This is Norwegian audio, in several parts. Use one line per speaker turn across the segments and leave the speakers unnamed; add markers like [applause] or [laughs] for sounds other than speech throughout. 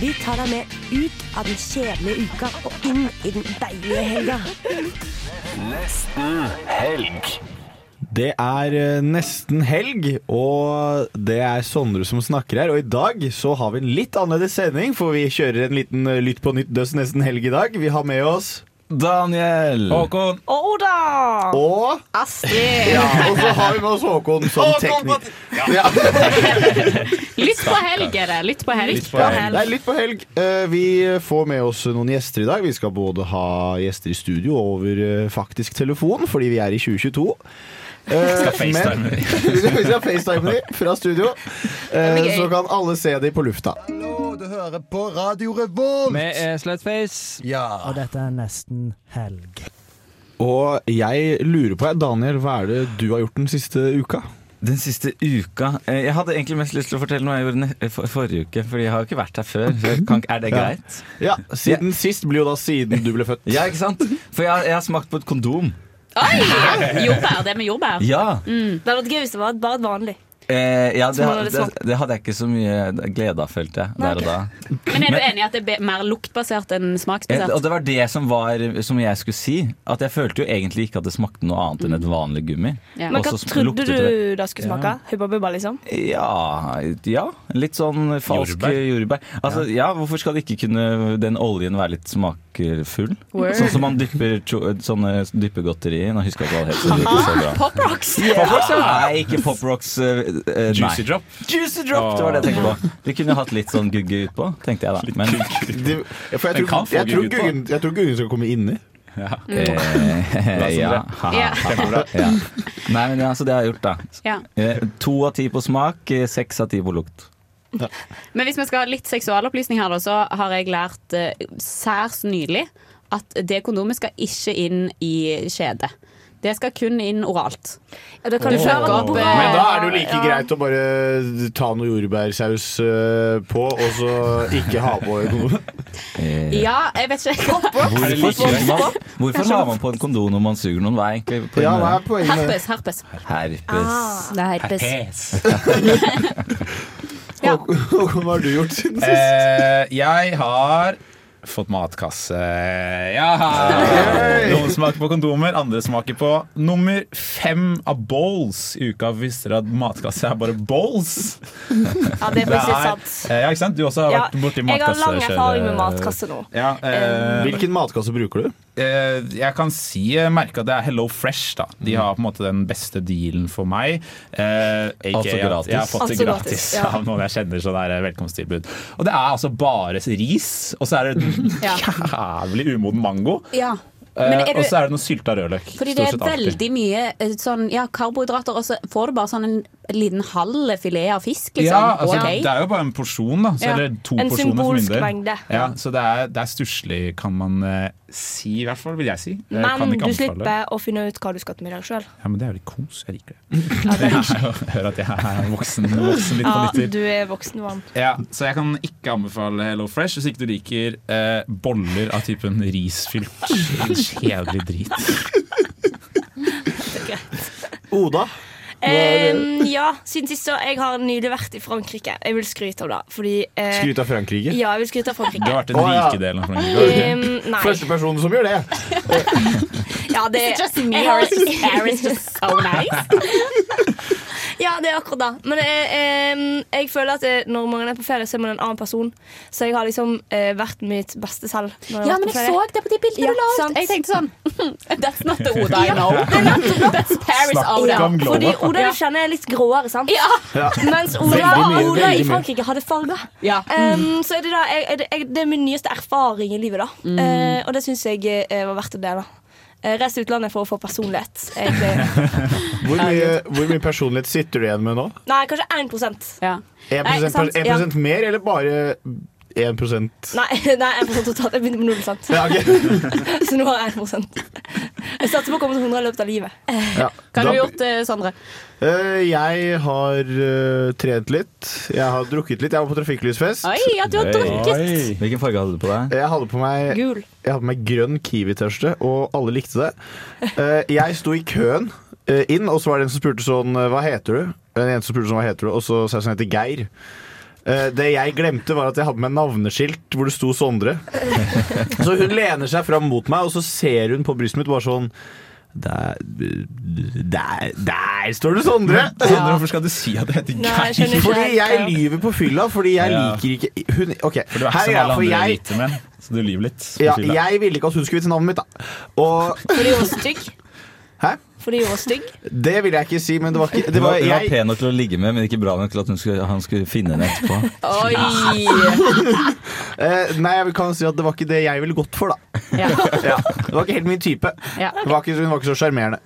Vi tar deg med ut av den kjedelige uka og inn i den deilige helga.
Det er eh, nesten helg, og det er Sondre som snakker her. Og i dag så har vi en litt annerledes sending, for vi kjører en liten eh, Lytt på nytt døds nesten helg i dag. Vi har med oss
Daniel. Håkon.
og Astrid. Ja, og så har vi med oss Håkon som tekniker. Ja.
[laughs] Lytt på helg, er det. Lytt på helg.
Ja, det er litt på helg. Eh, Vi får med oss noen gjester i dag. Vi skal både ha gjester i studio og over eh, faktisk telefon, fordi vi er i 2022. skal
facetime
Eh, [laughs] vi skal facetime dem fra studio, Eh, så kan alle se dem på lufta.
Hallo, du hører på Radio Revolt!
slutface.
Ja.
dette er nesten helg.
Og jeg lurer på, Daniel, hva er det du har gjort den siste uka?
Den siste uka eh, Jeg hadde egentlig mest lyst til å fortelle noe jeg gjorde ne- for, forrige uke, Fordi jeg har jo ikke vært her før. Så jeg kan, ikke- er det
Ja.
greit?
Ja, Siden sist blir jo da siden du ble født. [laughs]
Ja, ikke sant? For jeg, jeg har smakt på et kondom.
Oi! Jordbær. Det med jordbær.
Ja,
Mm. Det hadde vært gøy hvis det var bare et vanlig.
eh, ja det,
Så man har litt
det, det hadde jeg ikke så mye glede av, følte jeg. Der og da.
Men er du enig i at det er be- mer luktbasert enn
Eh, Og
smaksbasert?
det var det som, var, som jeg skulle si. At jeg følte jo egentlig ikke at det smakte noe annet enn et vanlig gummi.
Ja.
Men
Og
Altså,
hva
så sm-
trodde
luktet
du
det-
det skulle smake? Hubba bubba, liksom?
Ja, ja litt sånn falsk
Jordbær.
jordbær. Altså, ja. hvorfor skal det ikke kunne den oljen være litt smakfull?
Word.
Sånn som man dypper cho- sånne dyppegodteri i. Nå husker jeg ikke hva det heter. så det er ikke så
[laughs]
bra.
Ah, Pop rocks!
Pop Rocks, ja. Nei, ikke Pop Rocks. eh, eh, nei.
Juicy Drop.
Juicy Drop, det var det jeg tenkte på. De kunne hatt litt sånn gugge utpå, tenkte jeg da. Men,
Det, for jeg
Den kan
tror,
få
jeg tror
guggen på.
guggen- jeg tror guggen skal komme inni.
[laughs]
eh, ja.
Ja.
ja. Nei, men altså, det har jeg gjort, da.
Ja.
Eh, To av ti på smak, eh, seks av ti på lukt.
Men hvis vi skal ha litt seksualopplysning her, da, så har jeg lært eh, særs nylig at det kondomet skal ikke inn i skjedet. Det skal kun inn oralt.
Ja, da kan
Du
du
får
kjøre
gå
på
på-
Men da er det jo like greit å bare ta noe jordbærsaus eh, på, og så ikke ha på [laughs] noe.
Eh,
Ja, jeg vet ikke.
Hvorfor, suger man, hvorfor har man på en kondom når man suger noen? Hva er egentlig
Ja,
poenget?
hva er poenget med det?
Herpes. herpes.
eh, Herpes.
Det er Ah, herpes.
Ja.
Håkon, hva har du gjort siden sist?
Eh, jeg har fått matkasse. Ja! Noen smaker på kondomer, andre smaker på nummer fem av bowls i uka. Visste dere at matkasse er bare bowls?
Ja, det er
Det
faktisk
er-
sant.
Eh, ja, ikke sant? Du også har
Ja,
vært borti
jeg har
matkasse.
lang erfaring med
selv. eh,
matkasse nå. Um,
Ja, eh,
Hvilken matkasse bruker du?
eh, jeg kan si eh, merke at det er Hello Fresh. da De har på en måte den beste dealen for meg. Eh, aka
Altså gratis.
At jeg har fått det
Altså gratis,
gratis
ja.
[laughs] av noen jeg kjenner. Så det er eh, velkomsttilbud Og det er altså bare ris, og så er det
[laughs] Ja.
jævlig umoden mango.
Ja. Men
Eh,
er du-
og så er det noe sylta rødløk.
Fordi det er
stort sett alltid.
veldig mye eh, sånn, ja, karbohydrater, og så får du bare sånn en liten halv filet av fisk. Liksom.
Ja, altså,
Ok.
Det er jo bare en porsjon, da. Så,
Ja.
Eller to
En
porsjoner for min
symbolsk
del.
mengde.
Ja, så det er, det er stusslig, kan man eh, si. I hvert fall vil jeg si. Jeg kan
Men
ikke
du
anbefale.
slipper å finne ut hva du skal til middag sjøl.
Ja, men det er jo litt kos. Jeg liker
[laughs]
det. Jeg hører at jeg er voksen, voksen litt på
Ja,
nytter.
Ah, du er voksen mann.
Ja, så jeg kan ikke anbefale Hello Fresh hvis ikke du liker eh, boller av
[laughs]
typen risfylt kjedelig drit. [laughs]
Oda?
Ehm, ja, siden sist så Jeg har nylig vært i Frankrike. Jeg vil skryte av det. Fordi eh,
Skryt av Frankrike.
Ja, jeg vil skryte av
Du
Frankrike.
har [laughs] vært den
Å, ja.
rike delen av Frankrike.
Ehm, nei.
Første personen som gjør det.
Ja, det,
It's just me,
[laughs] jeg
or
har-
it's just air, it's just so Oh, nice.
ja, det er akkurat det. Men eh, ehm, jeg føler at eh, når man er på ferie, så er man en annen person. Så jeg har liksom eh, vært mitt beste selv. Når
Ja,
har vært
men jeg
på ferie.
så det på de bildene
Ja,
du la ut.
sant.
Jeg tenkte sånn That's not [laughs] the Oda I know. That's Paris Oda.
Snakk om glow
Fordi
up.
Oda du kjenner er litt gråere, sant?
Ja.
Mens Oda,
Veldig mye,
Oda i
veldig mye.
Frankrike hadde farger.
Ja.
Ehm, så er det, da, jeg, jeg, jeg, det er min nyeste erfaring i livet, da.
Mm.
Eh, og det syns jeg eh, var verdt å dele. Uh, Reis til utlandet for å få personlighet.
[laughs]
egentlig.
Hvor mye, hvor mye personlighet sitter du igjen med nå?
Nei, kanskje 1
ja.
1,
Nei, sant,
1 mer, eller bare 1
[laughs]
Nei, [laughs] nei 1 totalt. Jeg begynte på null, sant?
ja, ok.
[laughs] Så nå har jeg 1 Jeg satser på å komme til 100 i løpet av livet.
ja.
Hva har du
Da-
gjort, eh, Sondre?
Eh, jeg har eh, trent litt. Jeg har drukket litt. Jeg var på trafikklysfest.
Oi, ja, du har
Oi.
drukket!
Oi.
Hvilken farge hadde du på deg?
Jeg hadde på meg
Gul.
Jeg hadde på meg grønn kiwi-tørste, og alle likte det. Eh, jeg sto i køen eh, inn, og så var det en som spurte sånn Hva heter du? En jente som spurte sånn, hva heter du? Og så sa jeg sånn, jeg heter Geir. Eh, det jeg glemte, var at jeg hadde med navneskilt hvor det sto
[laughs]
Sondre. Så hun lener seg fram mot meg, og så ser hun på brystet mitt bare sånn der, der, der står det Sondre!
Sondre, hvorfor skal du si at det heter
Nei, jeg
Geir?
skjønner ikke
Fordi
helt,
jeg
ja.
lyver på fylla, fordi jeg
Ja.
liker ikke hun, Ok,
For du er ikke
her
som
er
alle
jeg, for
andre
jeg
hvite menn, så du lyver litt. på
ja,
fylla.
jeg ville ikke at hun skulle vite navnet mitt, da. Og
Fordi hun var stygg.
Hæ?
Fordi hun var stygg.
det ville jeg ikke si, men det var ikke
Hun
det var,
var, hun var
jeg,
pen nok til å ligge med, men ikke bra nok til at hun skulle, han skulle finne henne etterpå.
[laughs] Oi!
eh, Nei, jeg kan si at det var ikke det jeg ville gått for, da.
Ja.
[laughs] Ja. Det var ikke helt min type.
Ja.
Det var ikke, hun var ikke så sjarmerende.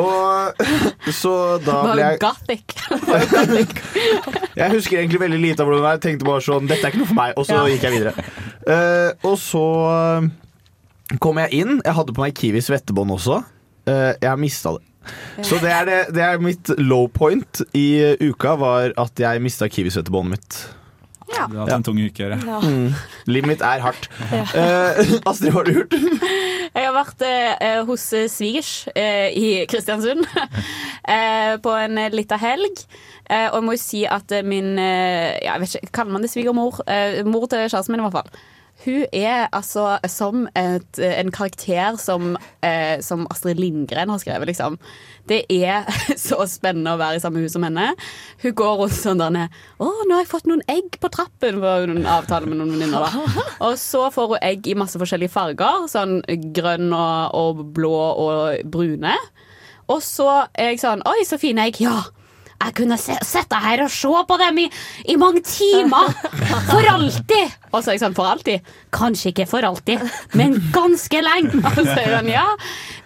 Og så da
Var
ble
hun
jeg
[laughs] gothic?
Jeg husker egentlig veldig lite av hvordan det var. Jeg tenkte bare sånn Dette er ikke noe for meg. Og så
Ja.
gikk jeg videre. Eh, og så eh, kom jeg inn. Jeg hadde på meg Kiwi svettebånd også. Eh, jeg har mista det. Så det er, det, det er mitt low point i eh, uka, var at jeg mista Kiwi-svettebåndet mitt.
Du har hatt en tung uke. Jere.
Ja.
Livet mitt er hardt. Eh, Astrid, hva har du gjort?
Jeg har vært eh, hos eh, svigers eh, i Kristiansund [laughs] eh, på en eh, lita helg. Eh, og jeg må jo si at eh, min eh, ja, Jeg vet ikke, Kaller man det svigermor? Eh, mor til kjæresten min, i hvert fall. Hun er altså som et, en karakter som, eh, som Astrid Lindgren har skrevet, liksom. Det er [laughs] så spennende å være i samme hus som henne. Hun går rundt sånn der nede. 'Å, nå har jeg fått noen egg på trappen', for hun har en avtale med noen venninner, da. Og så får hun egg i masse forskjellige farger. Sånn grønn og, og blå og brune. Og så er jeg sånn Oi, så fine egg. Ja. Jeg kunne se, sette her og se på dem i, i mange timer. For alltid. Og så er jeg sånn For alltid? Kanskje ikke for alltid, men ganske lenge. Og så er hun ja.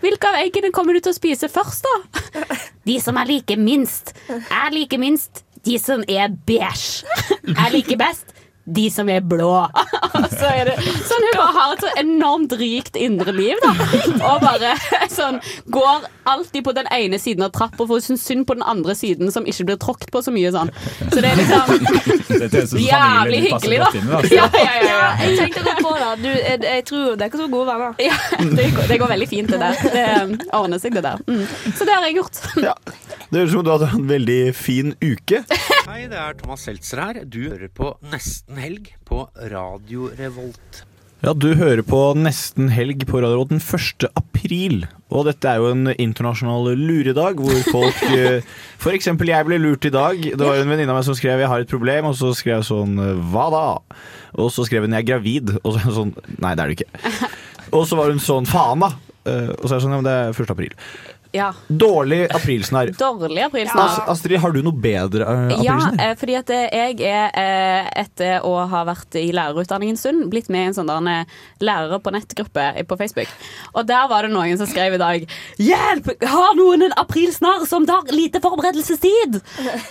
Hvilke av eggene kommer du til å spise først, da? De som jeg liker minst. Jeg liker minst de som er beige. Jeg liker best de som er blå. [laughs] Og så er det sånn Hun bare har et så enormt rikt indre liv, da. Og bare [laughs] sånn går alltid på den ene siden av trappa, for hun syns synd på den andre siden, som ikke blir tråkket på så mye sånn. Så det er
[laughs]
liksom
Dette høres ut som
jævlig
familier du passer
hyggelig,
godt inn i.
da.
altså.
Ja, ja, ja, ja.
jeg tenkte godt på det. Du, jeg, jeg tror dere er ikke så gode venner.
Ja, det går, det går veldig fint, det der. Det eh, ordner seg, det der. Mm. Så det har jeg gjort.
Ja. Det høres ut som du hadde en veldig fin uke.
Hei, det er Thomas Seltzer her. Du hører på Nesten Helg på Radio Revolt.
Ja, Du hører på Nesten helg på Radio Revolt den 1. april. Og dette er jo en internasjonal luredag hvor [laughs] folk eh, For eksempel jeg ble lurt i dag. Det var jo en venninne av meg som skrev 'jeg har et problem', og så skrev jeg sånn 'hva da?' Og så skrev hun 'jeg er gravid', og så er jeg sånn 'nei, det er du ikke'. [laughs] Og så var hun sånn 'faen, da'. Eh, Og så er jeg sånn 'ja, men det er 1. april'.
Ja.
Dårlig aprilsnarr.
Dårlig aprilsnarr.
Ast- Astrid, har du noe bedre eh,
Ja,
aprilsnarr?
eh, fordi at eh, jeg er, eh, etter å ha vært i lærerutdanningen en stund, blitt med i en sånn der, eh, lærere på nettgruppe på Facebook. Og der var det noen som skrev i dag Hjelp! Har noen en aprilsnarr som tar lite forberedelsestid?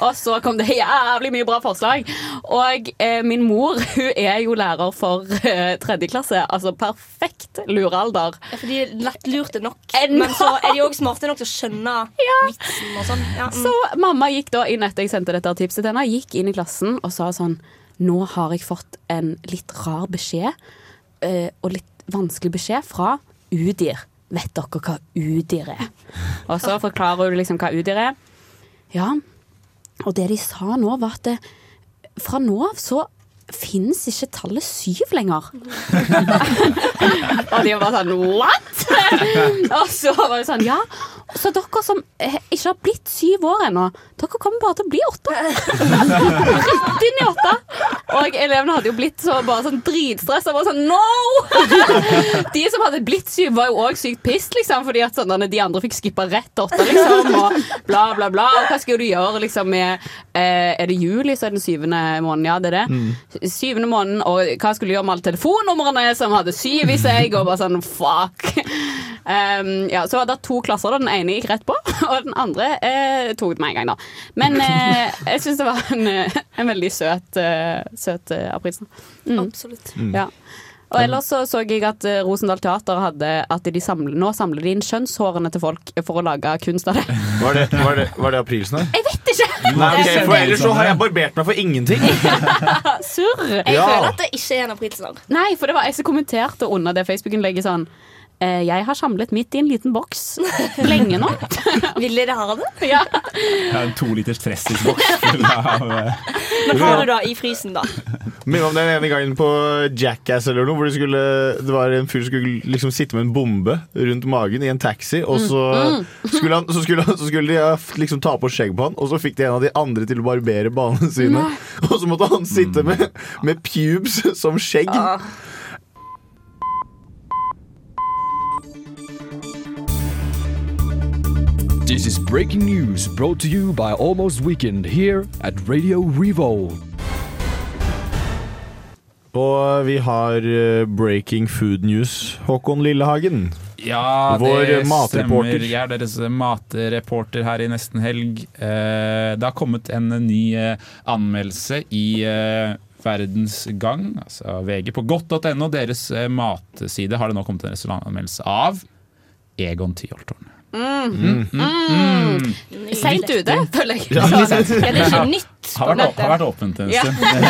Og så kom det jævlig mye bra forslag. Og eh, min mor, hun er jo lærer for eh, tredje klasse. Altså perfekt luralder.
Ja, For de er lettlurte nok.
Enormt.
Men så er de òg smarte nok til å skjønne vitsen og sånn. Ja, mm.
Så mamma gikk da inn etter jeg sendte dette tipset til henne, gikk inn i klassen og sa sånn Nå har jeg fått en litt rar beskjed, eh, og litt vanskelig beskjed, fra Udir. Vet dere hva Udir er? Og så forklarer hun liksom hva Udir er. Ja, og det de sa nå, var at eh, fra nå av så finnes ikke tallet syv lenger. Og de var sånn What?! og så var det sånn, ja. Så dere som eh, ikke har blitt syv år ennå, dere kommer bare til å bli åtte. Rett inn i åtte. Og elevene hadde jo blitt så bare sånn dritstressa. Bare sånn no! de som hadde blitt syv, var jo òg sykt piss, liksom, fordi at sånn, de andre fikk skippa rett til åtte, liksom. Og bla, bla, bla. Og hva skal du gjøre liksom, med eh, Er det juli, så er det den syvende måneden? Ja, det er det. Mm. Syvende måneden, og hva skulle du gjøre med alle telefonnumrene som hadde syv i seg? Og bare sånn fuck. [laughs] Ehm, ja, så var det to klasser. da. Den ene gikk rett på, [laughs] og den andre eh, tok det med en gang. da Men eh,
[laughs]
jeg syns det var en, eh, en veldig søt, eh, søt eh, aprilsnarr. Mm.
Absolutt.
Mm. Ja. Og ellers så, så jeg at eh, Rosendal Teater hadde at de samler, nå samler de inn kjønnshårene til folk for å lage
[laughs]
kunst av det.
Var det, var det, var det aprilsnarr?
Jeg vet ikke!
Nei, ok, for ellers så har jeg barbert meg for ingenting.
Surr!
Jeg
Ja.
føler at det ikke er en aprilsnarr.
Nei, for det var jeg som kommenterte under det Facebook-innlegget sånn eh, Jeg har samlet mitt i en liten boks lenge [laughs] nå.
Ville dere ha det?
ja.
Jeg har en to liters Tressis-boks full av eh,
Men har du da i frysen, da?
Minner om den ene gangen på Jackass eller noe, hvor det, skulle, det var en fyr som skulle liksom sitte med en bombe rundt magen i en taxi, og så skulle, han, så skulle, han- så skulle de ja, f- liksom ta på skjegg på han, og så fikk de en av de andre til å barbere banene sine. [laughs] Og så måtte han sitte med, med pubes som skjegg.
This is breaking news brought to you by Almost Weekend here at Radio Revolt.
Og vi har eh, breaking food news, Håkon Lillehagen.
Ja,
Vår
det
matreporter.
stemmer. Jeg er deres matreporter her i nesten helg. Eh, Det har kommet en ny eh, anmeldelse i eh, Verdens Gang, altså VG, på godt.no. Deres eh, matside har det nå kommet en restaurantanmeldelse av Egon Tyholtårn.
Mm. Mm. Seint ute, føler jeg.
Ja, litt
Så-
sent.
Ja, det er ikke nytt.
Har vært, har vært åpent en
Ja.
stund.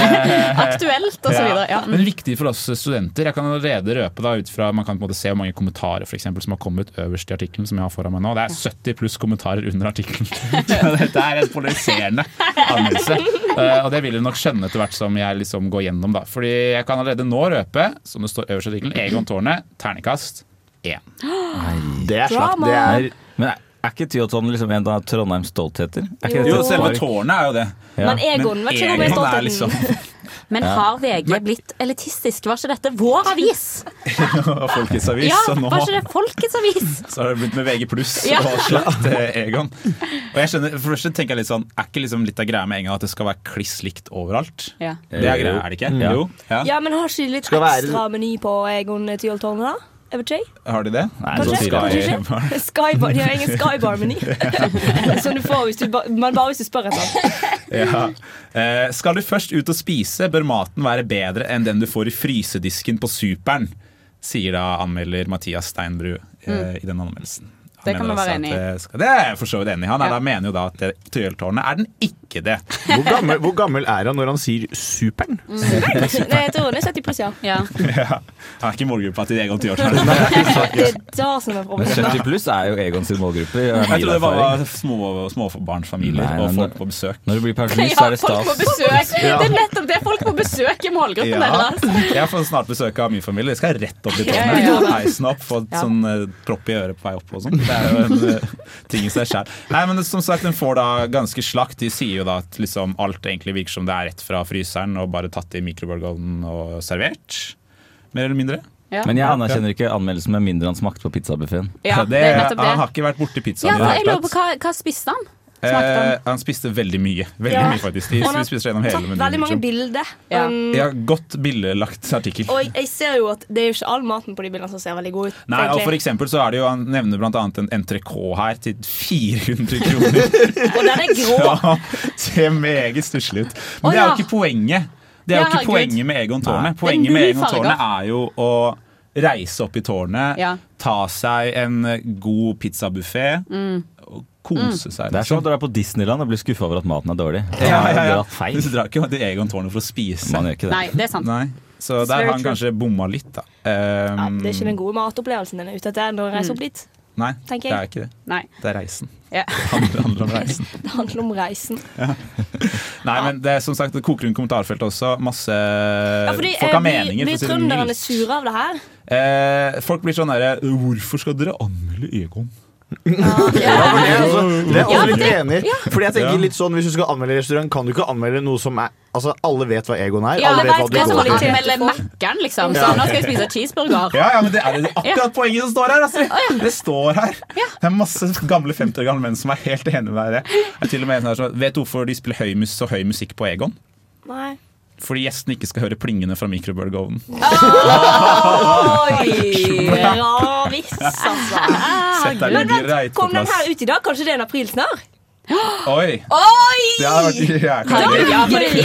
Aktuelt og så videre. Ja.
Men viktig for oss studenter. Jeg kan allerede røpe da, ut fra, Man kan på en måte se hvor mange kommentarer for eksempel, som har kommet øverst i artikkelen. som jeg har foran meg nå. Det er 70 pluss kommentarer under
[laughs]
artikkelen. [laughs] Så Dette er en polariserende anmeldelse. Eh, og det vil du nok skjønne etter hvert som jeg liksom går gjennom. da. Fordi jeg kan allerede nå røpe, som det står øverst i artikkelen, Egon Tårnet, ternekast én.
Ah,
Det er
slakt. Det er-
Men er, er ikke Tyhoton liksom en av Trondheims stoltheter? Er ikke det
Jo,
et
selve
spark?
tårnet er jo det.
Ja.
Men Egon vet ikke hvor mye
Egon er
stoltheten
liksom [laughs]
Men
Ja.
har VG blitt elitistisk? Var ikke dette vår avis?
Folkets avis.
Ja,
så nå-
var ikke det Folkets avis?
Så har det begynt med VG pluss
[laughs] Ja.
og slakt eh, Egon. Og jeg skjønner, for det første tenker jeg litt sånn Er ikke liksom litt av greia med Egon at det skal være kliss likt overalt?
Ja.
Det er greia, er det ikke?
Ja.
Jo. Mm. Ja.
Ja, men har ikke de litt
Skal være-
ekstra meny på Egon Tyholtårnet, da? Jeg vet ikke. jeg.
Har de det? Nei,
Kanskje? Kanskje ikke? Skybar, de har egen Skybar-meny.
[laughs]
[laughs] Som du får hvis du ba, men bare hvis du spør etter.
Ja. Eh, skal du først ut og spise, bør maten være bedre enn den du får i frysedisken på Superen, sier da anmelder Mathias Steinbru eh,
Mm.
i den anmeldelsen. Han
Det kan
mener
man være
altså
enig i.
at, eh, skal- Det er jeg for så vidt enig i. Han er,
Ja.
da mener jo da at eh, Tyholtårnet er den ikke det. [laughs]
Hvor gammel, hvor gammel er han når han sier 'super'n'?
Nei, jeg tror det er 70 pluss, ja.
Ja. Han er ikke i målgruppa til Egon Tyholtårnet.
Det er da som er
Men
problemet.
70 pluss er jo Egon sin målgruppe.
Jeg trodde det bare var
Nei,
småbarnsfamilier
nei,
og
nei.
folk på besøk.
Når du blir pensjonist,
Ja,
så er det
folk på
stas.
besøk.
Ja.
Det er nettopp det. Folk på besøk i
Ja.
målgruppen deres.
Jeg får snart besøk av min familie. Jeg skal rett opp i
Ja, ja, ja.
tårnet. Heisen opp, få et
Ja.
sånn eh, propp i øret på vei opp og sånn. Det er jo en eh, ting i seg selv Nei, men som sagt, den får da ganske slakt. De sier jo da at liksom alt egentlig virker som det er rett fra fryseren og bare tatt i mikrobølgeovnen og servert. Mer eller mindre.
Ja.
Men jeg anerkjenner ikke anmeldelsen med mindre han smakte på pizzabuffeen.
Ja,
Så
det er nettopp det.
Han har ikke vært borti pizzaen.
Ja,
i
for
det
jeg
hele
lurer
tatt.
på hva, hva spiste han? Smakte
Eh,
han?
han spiste veldig mye. Veldig
Ja.
mye faktisk De
Han har
spiste gjennom hele
Tatt veldig
liksom.
mange bilder.
Ja.
Um,
Ja, godt bildelagt artikkel.
Og jeg, jeg ser jo at det er jo ikke all maten på de bildene som ser veldig god ut.
Nei, og
egentlig.
for eksempel så er det jo Han nevner blant annet en NTRK her til 400 kroner.
[laughs] og den er grå.
[laughs] ja, ser meget stusslig ut. Men
Å,
det er jo
ja.
ikke poenget. Det er jo
Ja,
ikke
herregud.
poenget med Egon Tårnet. Poenget
Den
med
blir
Egon
farga.
Tårnet er jo å reise opp i tårnet,
Ja.
ta seg en god pizzabuffé,
Mm.
Mm.
kose seg. liksom.
Det er sånn som å dra på Disneyland og bli skuffa over at maten er dårlig.
Ja, ja, ja.
Dratt Feil.
Men så drar ikke til Egon Tårnet for å spise.
Man gjør ikke det.
Nei, det er sant.
Nei. Så
It's
der
very
har han
true.
kanskje bomma litt, da.
Ja,
Um,
det er ikke den gode matopplevelsen den er ute etter når jeg
Mm.
reiser opp dit.
Nei, det
tenker jeg.
er ikke det.
Nei.
Det er reisen.
Ja.
Det handler, handler
[laughs]
om reisen.
Det handler om reisen.
Nei, men det er som sagt, det koker rundt kommentarfeltet også. Masse
Ja, fordi,
Folk har
eh, vi-
meninger.
Vi
for å si det
trønderne
mildt.
er sure av det her.
Eh, folk blir sånn derre Hvorfor skal dere anmelde Egon?
Ja, for det, er også, det er også
Ja,
litt
det-
enig. i. Fordi jeg
Ja.
tenker litt sånn, Hvis du skal anmelde restaurant, kan du ikke anmelde noe som er Altså, Alle vet hva Egon er.
Ja,
alle vet hva
det
du
er som å
går til.
anmelde Mækkern, liksom. Så nå skal jeg spise cheeseburger.
Ja, ja, men Det er det- det er akkurat poenget som står her! Altså. Det står her. Det er masse gamle 50 år gamle menn som er helt enig med dere. Det er til og med en her som Vet du hvorfor de spiller høy mus så høy musikk på Egon?
Nei.
Fordi gjestene ikke skal høre plingene fra mikrobølgeovnen.
Oi! Bra visst. Yes, altså.
Sett deg litt
Men
greit
vent,
på
kom den
plass.
her ut i dag? Kanskje det er en aprilsnarr?
Oi!
Oi!
Det har vært jækla
Da-
gøy.
ja, for it
For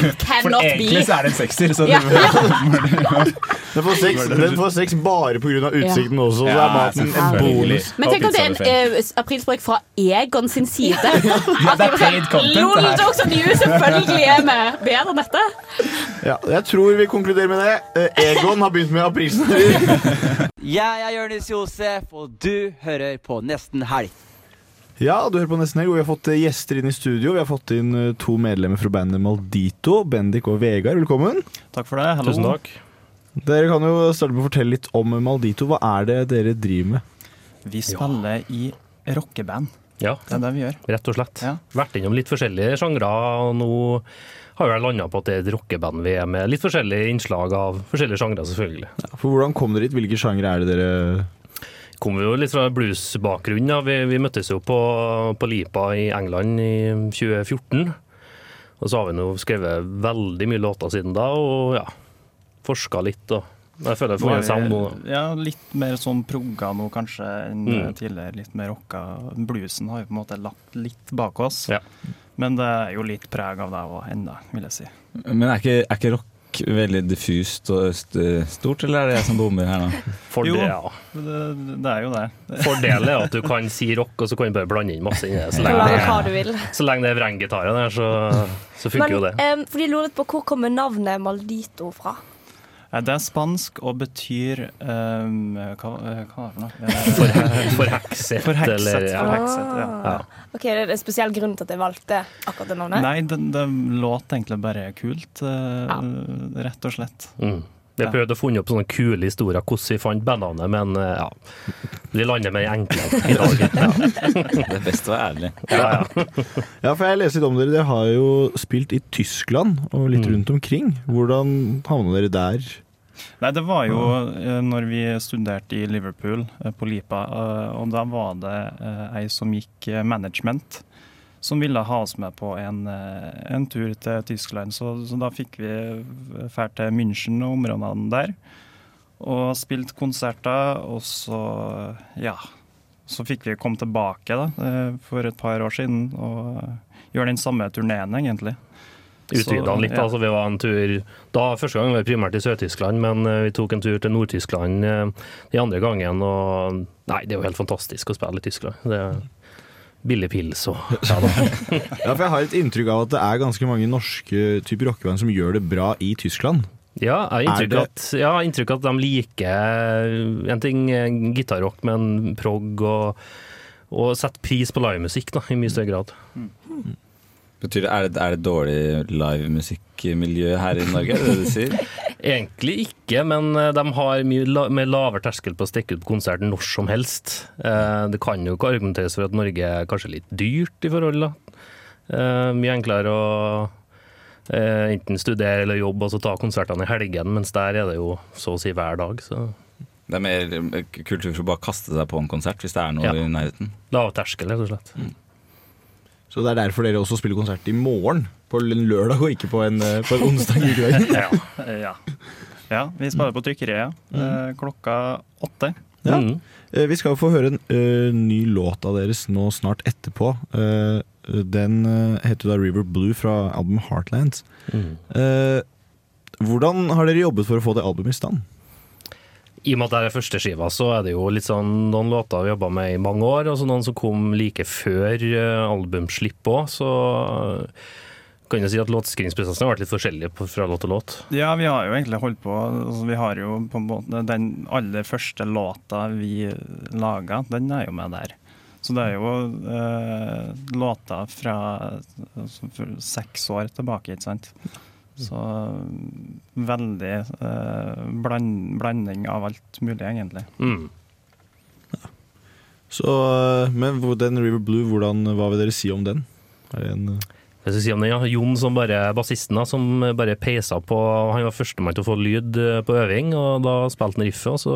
cannot be.
egentlig så er det en sekser, så det
Ja.
Den får seks, den får seks bare pga. utsikten også, så
Ja,
er maten en
selvfølgelig.
bonus.
Men tenk om det er en eh, aprilsprek fra Egon sin side. At de var sånn,
paid content, det her.
Lol, jokes on you, selvfølgelig er vi bedre enn dette.
Ja, jeg tror vi konkluderer med det. Eh, Egon har begynt med aprilsnurr.
Jeg er Jonis Josef, og du hører på Nesten Helg.
Ja, du hører på Nesten Helg, og vi har fått eh, gjester inn i studio. Vi har fått inn eh, to medlemmer fra bandet Maldito, Bendik og Vegard. Velkommen.
eh,
Takk for det. Hallo.
Tusen takk. Dere kan jo starte med å fortelle litt om Maldito. Hva er det dere driver med?
Vi spiller i rockeband.
Ja,
Det er det vi gjør.
rett og slett. Vært innom litt forskjellige sjangre, og nå har jeg landa på at det er et rockeband vi er med. Litt forskjellige innslag av forskjellige sjangre, selvfølgelig.
For hvordan kom dere hit? Hvilke sjangre er det dere
Kom vi jo litt fra bluesbakgrunn. Ja. Vi, vi møttes jo på, på Lipa i England i 2014. Og så har vi nå skrevet veldig mye låter siden da, og ja, forska litt. Og jeg føler jeg får en sound nå. da.
ja, litt mer sånn progga nå kanskje enn
Mm.
eh, tidligere. Litt mer rocka. Bluesen har vi på en måte lagt litt bak oss. Men det er jo litt preg av det òg ennå, vil jeg si.
Men er ikke, er ikke rock veldig diffust og st- stort, eller er det jeg som bommer her nå?
jo, det, det er jo det.
Fordelen er at du kan si rock, og så kan du bare blande inn masse inni det. Så
Blande
lenge det
hva du
er,
vil.
så lenge det er vrenggitarene der, så, så funker
Men
jo det.
em, fordi jeg lurer litt på hvor kommer navnet Maldito fra?
Eh, Det er spansk og betyr ehm, hva, eh, hva var det for noe?
[laughs] Forhe- forhekset, eller-
Forhekset,
ja.
forhekset, ja.
Ah. Ok, Det er en spesiell grunn til at jeg valgte akkurat det navnet.
Nei, det, det låt egentlig bare kult, eh, rett og slett.
Mm. Vi har prøvd å finne opp sånne kule historier hvordan vi fant bandnavnet, men eh, ja. Vi lander med en enkel i dag.
[laughs] Det er best å være ærlig.
Ja, for jeg leser litt om dere. Dere har jo spilt i Tyskland og litt rundt omkring. Hvordan havna dere der?
Nei, det var jo eh, når vi studerte i Liverpool, eh, på Lipa, eh, og da var det eh, ei som gikk eh, management, som ville ha oss med på en, eh, en tur til Tyskland. Så, så da fikk vi dra til München og områdene der, og spilt konserter, og så, eh, ja Så fikk vi komme tilbake da, eh, for et par år siden og gjøre den samme turneen, egentlig.
Utvida den litt, da. altså? Så vi var en tur da, Første gang var vi primært i Sør-Tyskland, men eh, vi tok en tur til Nord-Tyskland eh, den andre gangen. Og nei, det er jo helt fantastisk å spille i Tyskland. Det er billig pils og
[laughs]
ja da.
Ja, for jeg har et inntrykk av at det er ganske mange norske typer rockeband som gjør det bra i Tyskland.
Ja, jeg har
Er
inntrykk,
det-
at, ja, jeg har inntrykk at de liker en ting eh, gitarrock, men prog og, og setter pris på livemusikk da, i mye større grad.
Betyr det, er, det, er det dårlig livemusikkmiljø her i Norge, er det det du sier?
Egentlig ikke, men eh, de har mye la med lavere terskel på å stikke ut på konsert når som helst. Eh, Det kan jo ikke argumenteres for at Norge er kanskje litt dyrt i forhold, da. Eh, Mye enklere å eh, enten studere eller jobbe, og så ta konsertene i helgen, mens der er det jo så å si hver dag, så
Det er mer eh, kultur for å bare kaste seg på en konsert hvis det er noe
Ja.
i nærheten.
lav terskel, rett og slett.
Så det er derfor dere også spiller konsert i morgen, på en lørdag og ikke på en, eh, på en onsdag i kvelden.
[laughs]
ja. ja, vi spiller
Mm.
på trykkeriet eh, klokka åtte.
Ja.
Mm.
Eh, Vi skal jo få høre en eh, ny låt av deres nå snart etterpå. Eh, den eh, heter jo da River Blue fra albumet Heartlands.
Mm.
Eh, hvordan har dere jobbet for å få det albumet i stand?
I og med at det er første skiva, så er det jo litt sånn noen låter vi jobba med i mange år, og så noen som kom like før eh, albumslipp òg, så eh, kan jeg si at låtskrivingsprosessen har vært litt forskjellig på- fra låt til låt.
Ja, vi har jo egentlig holdt på altså, Vi har jo på en måte Den aller første låta vi laga, den er jo med der. Så det er jo eh, låter fra altså, for seks år tilbake, ikke sant. Så mm, veldig eh, bland, blanding av alt mulig, egentlig.
Mm.
Så, eh, men hvor- den River Blue, hvordan, hva vil dere si om den? Er det en, eh,
Hva skal jeg si om den, ja? Jon, som bare bassisten, da, som bare peisa på Han var førstemann til å få lyd eh, på øving, og da spilte han riffet, og så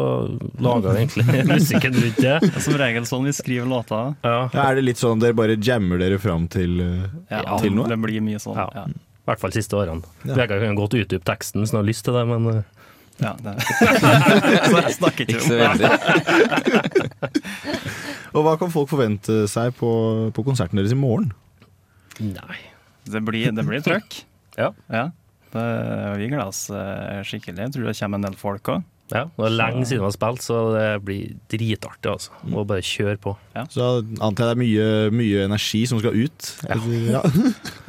laga vi egentlig [laughs] musikken rundt det.
Som regel sånn vi skriver låter.
Ja, er det litt sånn dere bare jammer dere fram til, eh,
Ja,
til noe?
Det blir mye sånn.
Ja. I hvert fall siste årene.
Ja.
Vegard kan godt utdype teksten hvis han har lyst til det, men eh,
Ja, det. [laughs] Så jeg snakker ikke,
Ikke så veldig. Og hva kan folk forvente seg på, på konserten deres i morgen?
Nei.
Det blir, det blir
[laughs]
trøkk.
ja.
Det, vi gleder oss eh, skikkelig. Jeg tror det kommer en del folk òg.
Ja, det er lenge siden vi har spilt, så det blir dritartig, altså. Må bare kjøre på.
Så da antar jeg det er mye, mye energi som skal ut. Ja.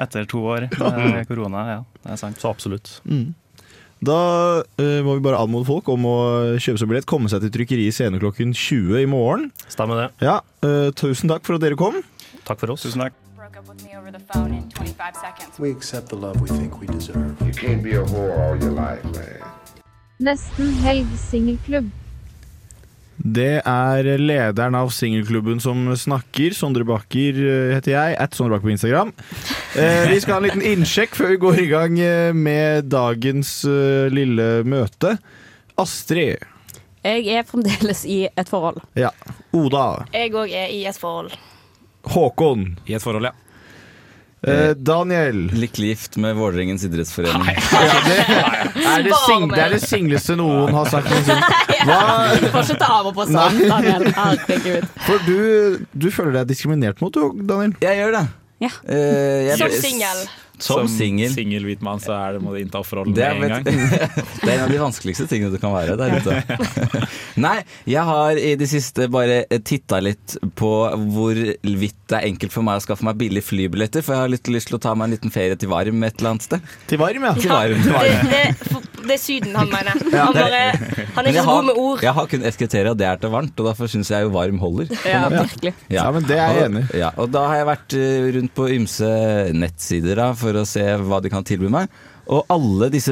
Etter to
[laughs]
år med korona, ja. Det er sant.
Så absolutt.
Mm. Da eh, må vi bare anmode folk om å kjøpe seg billett, komme seg til trykkeriet senere klokken 20 i morgen.
Stemmer det.
Ja, eh, Tusen takk for at dere kom.
Takk for oss.
Tusen takk.
We accept the love we think we deserve.
You can't be a whore all your life, man.
Nesten helg singelklubb.
Det er lederen av singelklubben som snakker. Sondre Bakker eh, heter jeg. At Sondre Bakker på [laughs] Instagram. Eh, vi skal ha en liten innsjekk før vi går i gang eh, med dagens eh, lille møte. Astrid.
Jeg er fremdeles i et [laughs] forhold.
Ja. Oda.
Jeg òg er i et forhold.
Håkon.
I et forhold, ja.
Eh, Daniel.
Lykkelig gift med Vålerengens idrettsforening.
Er det, sing det er det singleste noen har sagt noensinne.
Du får ikke ta over på sånn,
Nei.
Daniel. Herregud.
For du, du føler deg diskriminert mot, du, Daniel?
Jeg gjør det.
Ja.
Som singel. Som singel.
Singel hvit mann, så er det, må du innta forholdet
Det er,
med en
vet-
gang.
[laughs] det er en av de vanskeligste tingene du kan være der ute. [laughs] Nei, jeg har i det siste bare titta litt på hvorvidt det er enkelt for meg å skaffe meg billige flybilletter, for jeg har litt lyst til å ta meg en liten ferie til Varm et eller annet sted.
Til Varm, ja.
Til varm.
Det, det, for- det er Syden han mener.
Ja,
Han,
det er-
bare, han er
Men jeg
ikke så
har-
god med ord.
Jeg har kun ett kriterium, og det er til varmt. Og derfor syns jeg jo varm holder. på en
Ja,
måte.
virkelig.
Ja, men det er jeg enig
i. Ja, og da har jeg vært eh, rundt på ymse nettsider da, for å se hva de kan tilby meg. Og alle disse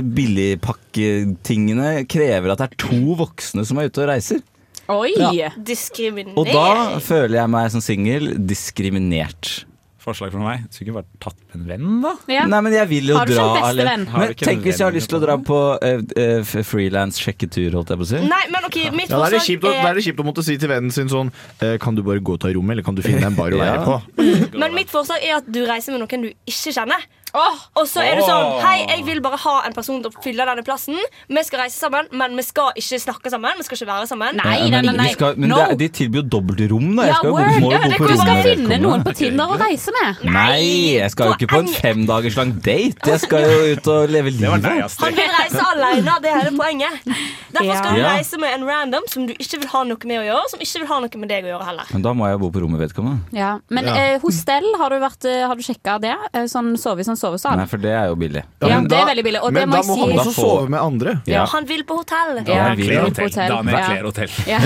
billigpakketingene krever at det er to voksne som er ute og reiser.
Oi!
Diskriminering.
Og da føler jeg meg som singel diskriminert.
Forslag fra meg. Skulle ikke bare tatt med en venn, da?
Nei, men jeg vil jo
Har du ikke
dra
en beste
alene.
venn? Har du
Men
ikke en
tenk hvis jeg har
venn
lyst til å dra på uh, frilans-sjekketur, holdt jeg på å si.
Nei, men ok, mitt
Ja, da er det
forslag
kjipt å, da er det kjipt å måtte si til vennen sin sånn eh, Kan du bare gå og ta rommet, eller kan du finne deg en bar å være
Ja.
på?
Men mitt forslag er at du reiser med noen du ikke kjenner. og så er du
Åh.
sånn Hei, jeg vil bare ha en person til å fylle denne plassen. Vi skal reise sammen, men vi skal ikke snakke sammen. Vi skal ikke være sammen.
Ja, men vi Skal, men det, er- de tilbyr jo dobbeltrom, da. Jeg
Ja,
skal, jo bo-
word.
må jo bo
Ja, det
på
kan- du
rom
skal
med
finne
vedkommende.
noen på Tinder å reise med.
Nei, jeg skal jo ikke på en femdagers lang date. Jeg skal jo ut og leve livet.
Han vil reise alene, det er hele poenget. Derfor skal du
Ja.
reise med en random som du ikke vil ha noe med å gjøre, som ikke vil ha noe med deg å gjøre heller.
Men da må jeg jo bo på rommet vedkommende.
Ja. Men
Ja.
eh, hostell, har du, vært, eh, har du sjekka det? Eh, Sånn sove i sånn sovesal?
Nei, for det er jo billig.
Ja, Ja, men det er da- veldig billig, og det
men må da jeg må si- han også sove med andre.
Ja.
Han vil på hotell.
Ja, han vil.
Hotell.
Hotell. Daniel Kler Hotell.
Ja.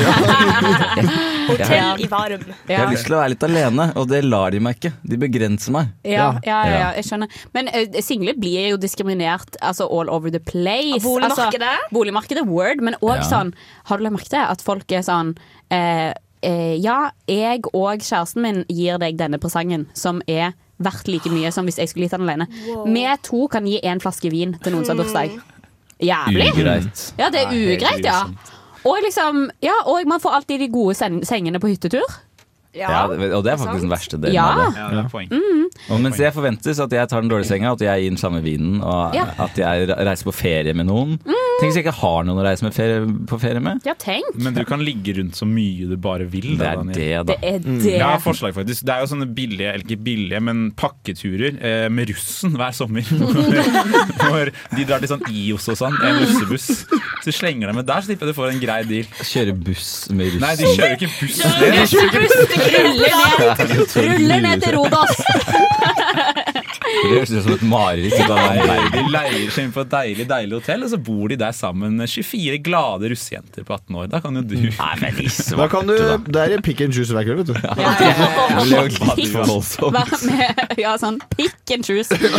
Ja.
hotell i Varum.
Jeg har lyst til å være litt alene, og det lar de meg ikke. De begrenser meg.
Ja, ja, ja, ja, jeg skjønner. Men uh, single blir jo diskriminert altså, all over the place.
Boligmarkedet?
Altså, boligmarkedet, word. Men òg
Ja.
sånn Har du lagt merke til at folk er sånn eh, eh, Ja, jeg og kjæresten min gir deg denne presangen, som er verdt like mye som hvis jeg skulle gitt den alene.
Wow.
Vi to kan gi én flaske vin til noen som har bursdag. Jævlig.
Ugreit.
Ja, det er
Nei, helt
ugreit, ja. Og, liksom, ja, og man får alltid de gode sen sengene på hyttetur.
Ja, det- og det er faktisk den verste delen
Ja.
av det.
Ja, det er
Mm. Og mens jeg forventes at jeg tar den dårlige senga, at jeg gir den samme vinen, og
Ja.
at jeg reiser på ferie med noen. Tenk hvis jeg ikke har noen å reise med ferie, på ferie med.
Ja, tenk.
Men du kan ligge rundt så mye du bare vil.
Det er det, da. Det er det.
Jeg har et forslag, faktisk. Det er jo sånne billige, eller ikke billige, men pakketurer eh, med russen hver sommer. [laughs] Hvor de drar til sånn IOS og sånn, en russebuss. Så slenger de med der, så slipper jeg du får en grei deal.
Kjøre buss med russen?
Nei, de kjører ikke buss.
Kjører
de kjører ikke buss.
Ruller ned til
[laughs]
Rodos.
Det høres ut som et mareritt. så bare-
Nei, De leier seg inn på et deilig deilig hotell, og så bor de der sammen med 24 glade russejenter på 18 år. Da kan jo du Nei,
men i
Da kan du, det er pick and choose hver kveld, vet du.
[laughs]
Vær med, ja, sånn pick and
[laughs]
choose. Det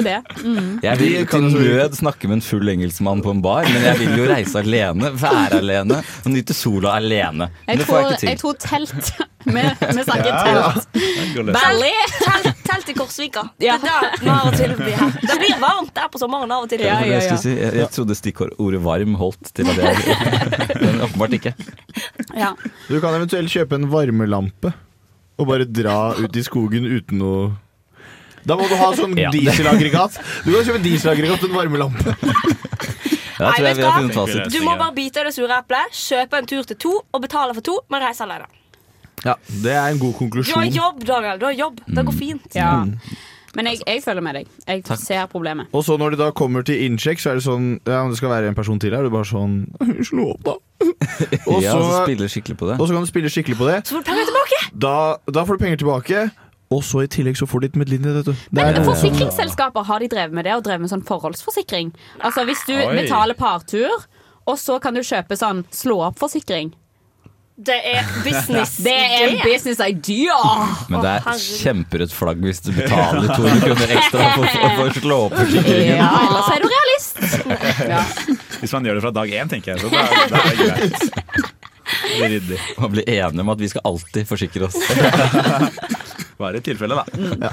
er det. Mm.
Jeg vil til nød snakke med en full engelskmann på en bar, men jeg vil jo reise alene, være alene og nyte sola alene. Men
Jeg
det får
tror,
jeg ikke
jeg
til.
tror telt [laughs] Vi, vi snakker
Ja.
telt. Valley.
Telt, telt i Korsvika. Det er det vi har å tilby her. Det blir varmt der på sommeren av og til.
Det var det jeg, skulle si. jeg, jeg trodde stikkordet 'varm' holdt til at
[laughs]
jeg Men åpenbart ikke.
Ja.
Du kan eventuelt kjøpe en varmelampe og bare dra ut i skogen uten noe da må du ha sånn
Ja.
dieselaggregat. Du kan kjøpe dieselaggregat og en varmelampe.
Ja, tror jeg vi har funnet fasit.
Du må bare bite i det sure eplet, kjøpe en tur til to og betale for to, men reise alene.
Ja, Det er en god
Du har
konklusjon.
jobb, Daniel. Du har jobb. Det
Mm.
går fint.
Ja. Men jeg, jeg følger med deg. Jeg
Takk.
ser problemet.
Og så når det da kommer til innsjekk, så er det sånn Ja, men det skal være en person til her. Du bare sånn Slå opp, da.
[laughs]
Og
Ja,
så-
så spiller skikkelig på det.
Og så kan du spille skikkelig på det.
Så får du penger tilbake!
Da, da får du penger tilbake, og så i tillegg så får du litt medlidenhet, vet du. Det er sånn-
Men
noe som-
forsikringsselskaper har de drevet med det, og drevet med sånn forholdsforsikring. Altså Hvis du
Oi.
betaler partur, og så kan du kjøpe sånn slå-opp-forsikring.
Det er [laughs] business.
Det er en business idea!
Men det er kjemperødt flagg hvis du betaler 200 kroner ekstra for for- for å slå opp forsikringen.
Ja, ellers er du realist. Ja.
Hvis man gjør det fra dag én, tenker jeg. Så da, er- da er det greit.
Man blir enige om at vi skal alltid forsikre oss.
Bare i tilfelle, da.
Ja.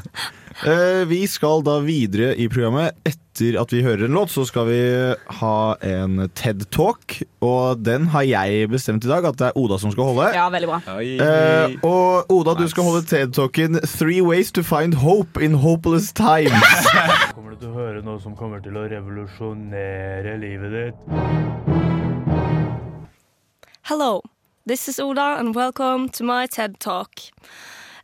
Eh, vi skal da videre i programmet. Etter at vi hører en låt, så skal vi ha en TED Talk. Og den har jeg bestemt i dag at det er Oda som skal holde.
Ja, veldig bra.
Eh, og Oda, du skal holde TED-talken 'Three Ways to Find Hope in Hopeless Times'.
Kommer du til å høre noe som kommer til å revolusjonere livet ditt?
Hello, this is Oda, and welcome to my TED Talk.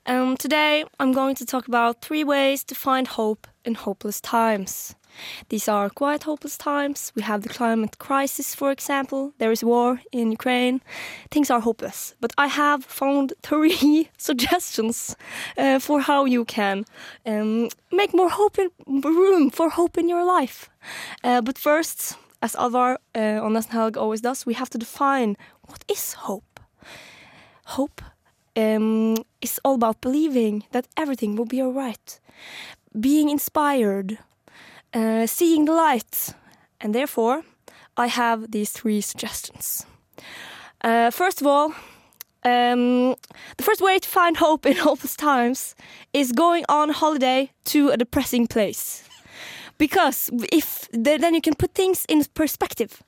Um, today, I'm going to talk about three ways to find hope in hopeless times. These are quite hopeless times. We have the climate crisis, for example. There is war in Ukraine. Things are hopeless. But I have found three [laughs] suggestions uh, for how you can um, make more hope in, room for hope in your life. Uh, but first, as Alvar uh, on Nesten Helg always does, we have to define what is hope. Hope um, is all about believing that everything will be all right, being inspired, uh, seeing the light, and therefore, I have these three suggestions. Uh, first of all, um, the first way to find hope in hopeless times is going on holiday to a depressing place because if th- then you can put things in perspective.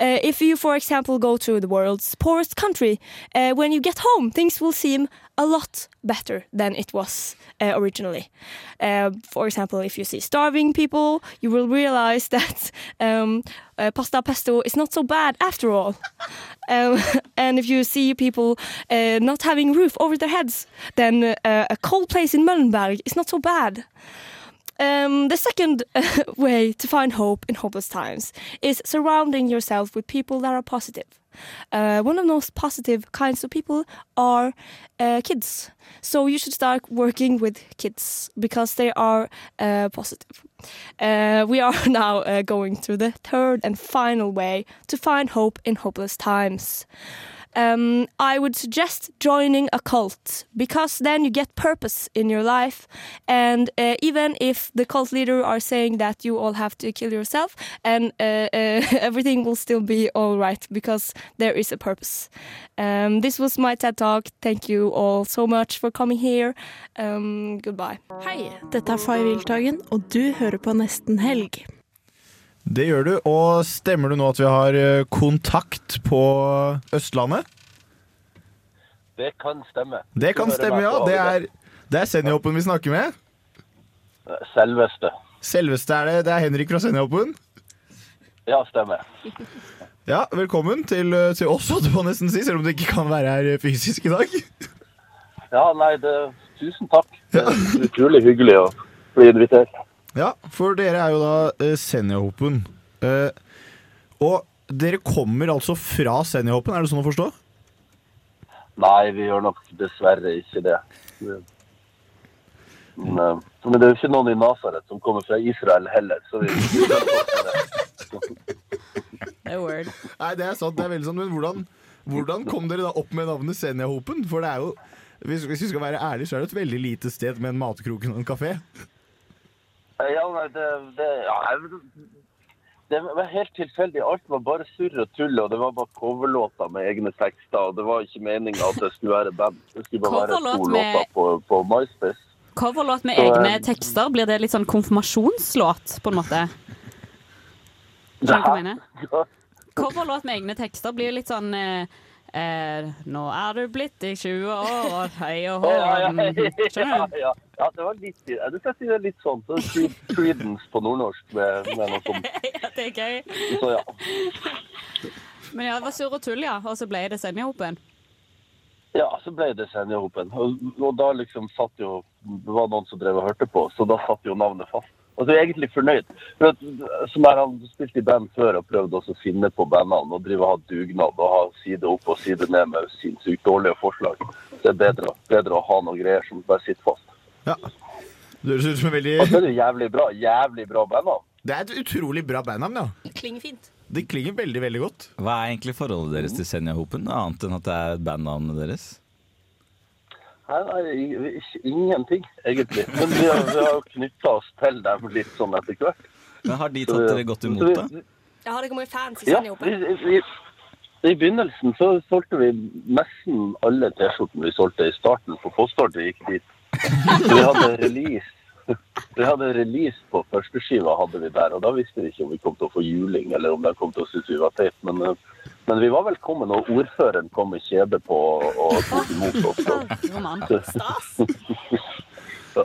Uh, if you, for example, go to the world's poorest country, uh, when you get home, things will seem a lot better than it was uh, originally. Uh, for example, if you see starving people, you will realize [laughs] that um, uh, pasta pesto is not so bad after all. [laughs] Um, and if you see people uh, not having roof over their heads, then uh, a cold place in Möllenberg is not so bad. Um, the second [laughs] uh, way to find hope in hopeless times is surrounding yourself with people that are positive. Uh, one of the most positive kinds of people are uh, kids. So you should start working with kids because they are uh, positive. Uh, we are [laughs] now uh, going through the third and final way to find hope in hopeless times um, I would suggest joining a cult because then you get purpose in your life. And uh, even if the cult leader are saying that you all have to kill yourself, and uh, uh, [laughs] everything will still be all right because there is a purpose. Um, this was my TED talk. Thank you all so much for coming here. Um, goodbye. Hei,
Dette er Fay Wiltagen, og du hører på Nesten Helg.
Det gjør du. Og stemmer det nå at vi har eh, kontakt på Østlandet?
Det kan stemme.
Det kan
Du hører
stemme,
meg
ja.
på
Det er,
radio.
det er Senjahopen vi snakker med.
Selveste.
Selveste er det. Det er Henrik fra Senjahopen.
Ja, stemmer.
[laughs] Ja, velkommen til, eh, til oss, holdt jeg på å nesten si, selv om du ikke kan være her eh, fysisk i dag.
Ja, nei, det, tusen takk. Det er utrolig hyggelig å bli invitert.
Ja, for dere er jo da eh, Senjahopen. Eh, og dere kommer altså fra Senjahopen, er det sånn å forstå?
Nei, vi gjør nok dessverre ikke det. Men, eh, men det er jo ikke noen i Nasaret som kommer fra Israel heller, så vi
Nei, det er sant, det er veldig sant. Men hvordan, hvordan kom dere da opp med navnet Senjahopen? For det er jo, hvis, hvis vi skal være ærlige, så er det et veldig lite sted med en matkroken og en kafé.
Ja, nei, det, det, ja, jeg, det var helt tilfeldig. Alt var bare surr og tull, og det var bare coverlåter med egne tekster. og Det var ikke meninga at det skulle være band. Det skulle bare være to
Coverlåt med-
låter på, på MySpace.
Coverlåt med
Så, eh,
egne tekster, blir det litt sånn konfirmasjonslåt, på en måte? Skjønner du hva jeg mener? Coverlåt med egne tekster blir litt sånn eh, Eh, nå er du blitt i 20 år, hei og hå.
Ja, ja, ja,
Skjønner du?
ja. ja, det var litt Jeg skal si det er litt sånn. Så Creed- Creedence på nordnorsk med, med noe sånt.
Ja, det er gøy.
Så ja.
Men ja, det var surr og tull, ja. Og så ble det Senjahopen.
Ja, så ble det Senjahopen. Og, og da liksom satt jo Det var noen som drev og hørte på, så da satt jo navnet fast. Og så er jeg egentlig fornøyd. For at, som er han spilte i band før og prøvde også å finne på bandnavn og drive og ha dugnad og ha side opp og side ned med sinnssykt dårlige forslag. Så det er bedre, bedre å ha noen greier som bare sitter fast.
Du høres ut som en veldig
Og så er det jo jævlig bra, jævlig bra bandnavn.
Det er et utrolig bra bandnavn, ja.
Klinger fint.
Det klinger veldig, veldig godt.
Hva er egentlig forholdet deres til Senjahopen, annet enn at det er bandnavnet deres?
Nei, nei, i- i- ingenting, egentlig. Men vi har, vi har knytta oss til dem litt sånn etter hvert.
Men har de
Så
tatt
vi-
dere godt
så
imot,
vi-
da?
Jeg har ikke mye fans i
Ja,
Senjahopen.
i, i, i begynnelsen så solgte vi nesten alle T-skjortene vi solgte i starten på postordet gikk dit. Så vi hadde release. Vi hadde release på førsteskiva hadde vi der, og da visste vi ikke om vi kom til å få juling, eller om de kom til å synes vi var teit, men, eh, men vi var velkommen, og ordføreren kom med kjede på og- og tok imot oss.
Romantisk.
Ja.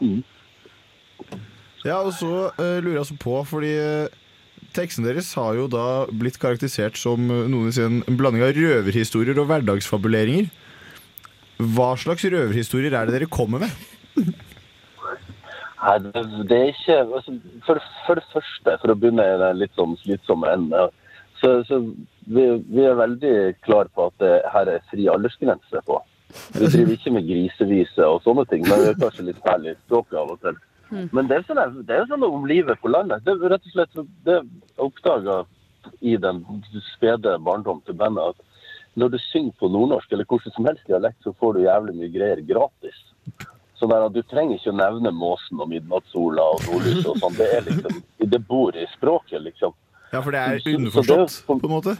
Mm.
Ja, og så eh, lurer jeg også på, fordi uh, tekstene deres har jo da blitt karakterisert som eh, noen vil si en en blanding av røverhistorier og hverdagsfabuleringer. Hva slags røverhistorier er det dere kommer med?
Nei, det- det er ikke altså, for, for det første, for å begynne i den litt sånn slitsomme enden, ja, så, så vi, vi er veldig klar på at det her er fri aldersgrense på. Vi driver ikke med grisevise og sånne ting, men vi er kanskje litt særlig språket av og til. Men det er jo sånn, det er jo sånn om livet på landet. Det er rett og slett det oppdaga i den spede barndom til bandet at når du synger på nordnorsk eller hvordan som helst dialekt, så får du jævlig mye greier gratis. Så der, at du trenger ikke å nevne måsen og midnattssola og nordlyset og sånn. Det er liksom, det bor i språket, liksom.
Ja, for Mm. det
Så- så
er
det er
underforstått, på en måte.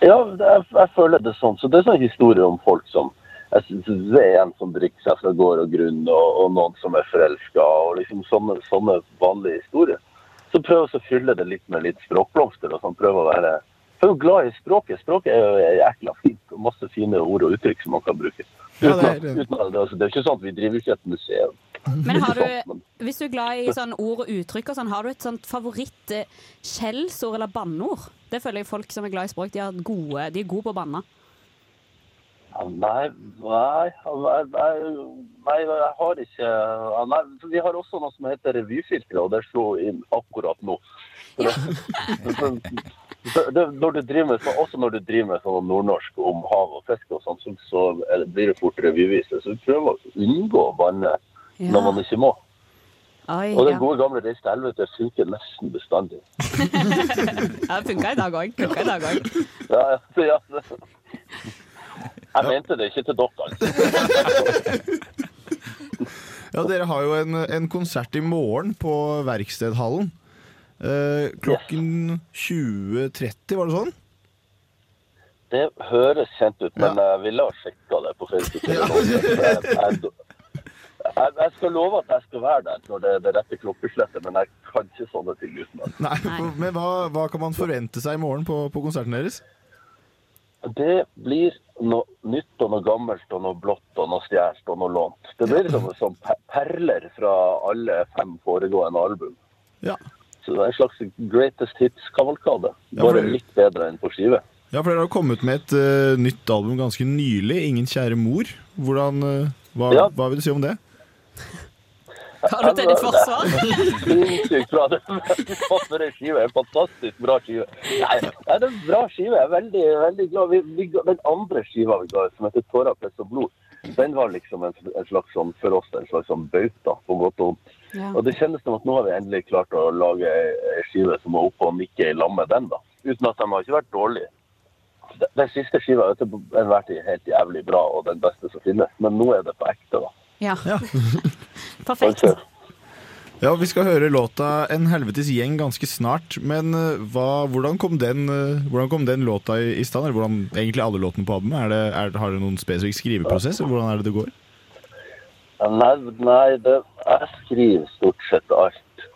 Ja, det er, jeg føler det sånn. Så det er sånne historier om folk som jeg synes Det er en som drikker seg fra gård og grunn, og, og noen som er forelska, og liksom sånne, sånne vanlige historier. Så prøv å fylle det litt med litt språkblomster og sånn. Prøv å være Jeg er jo glad i språket. Språket er jo jækla fint. og Masse fine ord og uttrykk som man kan bruke. Uten,
Ja, det er
at- uten, at- altså, det er jo ikke sånn at vi driver ikke et museum.
Men har du, hvis du er glad i sånn ord og uttrykk og sånn, har du et sånt favoritt-skjellsord eller banneord? Det føler jeg folk som er glad i språk, de, har gode, de er gode på å banne.
Ja, Nei, nei, nei, nei, nei, jeg har ikke ja, nei, for Vi har også noe som heter revyfiltre, og det slo inn akkurat nå. Så det, så, så det, når du driver med, sånn- også når du driver med sånn nordnorsk om hav og fiske og sånn, så, så er det- blir det fort revyvise. Så vi prøver å unngå å banne når man ikke må.
Oi,
Og den
ja.
gode gamle Reis til helvete funker nesten bestandig.
Ja, det funka i dag òg. Funka i dag òg.
Ja, [laughs] ja, så ja. så- Jeg mente det ikke til dere. altså.
Ja, dere har jo en, en konsert i morgen på Verkstedhallen. Eh, klokken 20.30, var det sånn?
Det høres kjent ut, men jeg ville ha sjekka det på Facebook. eller noe, for Jeg, jeg, jeg, jeg skal love at jeg skal være der når det er det rette klokkeslettet, men jeg kan ikke sånne ting utenat.
Nei, [laughs] men hva, hva kan man forvente seg i morgen på, på konserten deres?
Det blir noe nytt og noe gammelt og noe blått og noe stjålet og noe lånt. Det blir som, som per- perler fra alle fem foregående album.
Ja.
Så det er en slags greatest hits-kavalkade.
Ja, for
Bare
det-
litt bedre enn på skive.
Ja, for dere har kommet med et eh, nytt album ganske nylig, 'Ingen kjære mor'. Hvordan, eh, hva,
Ja.
hva vil du si om det?
Har du til ditt forsvar? Sinnssykt bra. Det var for en skive. En fantastisk bra skive. Nei, nei, det er en bra skive. Jeg er veldig, veldig glad. Vi, vi, ga- den andre skiva vi ga, som heter 'Tårer, press og blod', den var liksom en, en slags sånn, for oss en slags sånn bauta, på godt og vondt. Og det kjennes som at nå har vi endelig klart å lage ei skive som er oppe og nikker i lag med den, da. Uten at de har ikke vært dårlige. Den- Den siste skiva er til enhver tid helt jævlig bra og den beste som finnes, men nå er det på ekte, da.
Ja.
Perfekt.
Ja, Vi skal høre låta 'En helvetes gjeng' ganske snart. Men eh, hva, hvordan, kom den, eh, hvordan kom den låta i, i stand? Eller hvordan egentlig alle låtene på albumet? Er det, er, har dere noen spesifikk skriveprosess? Eller hvordan er det det går?
Ja, Nei, nei det, jeg skriver stort sett alt.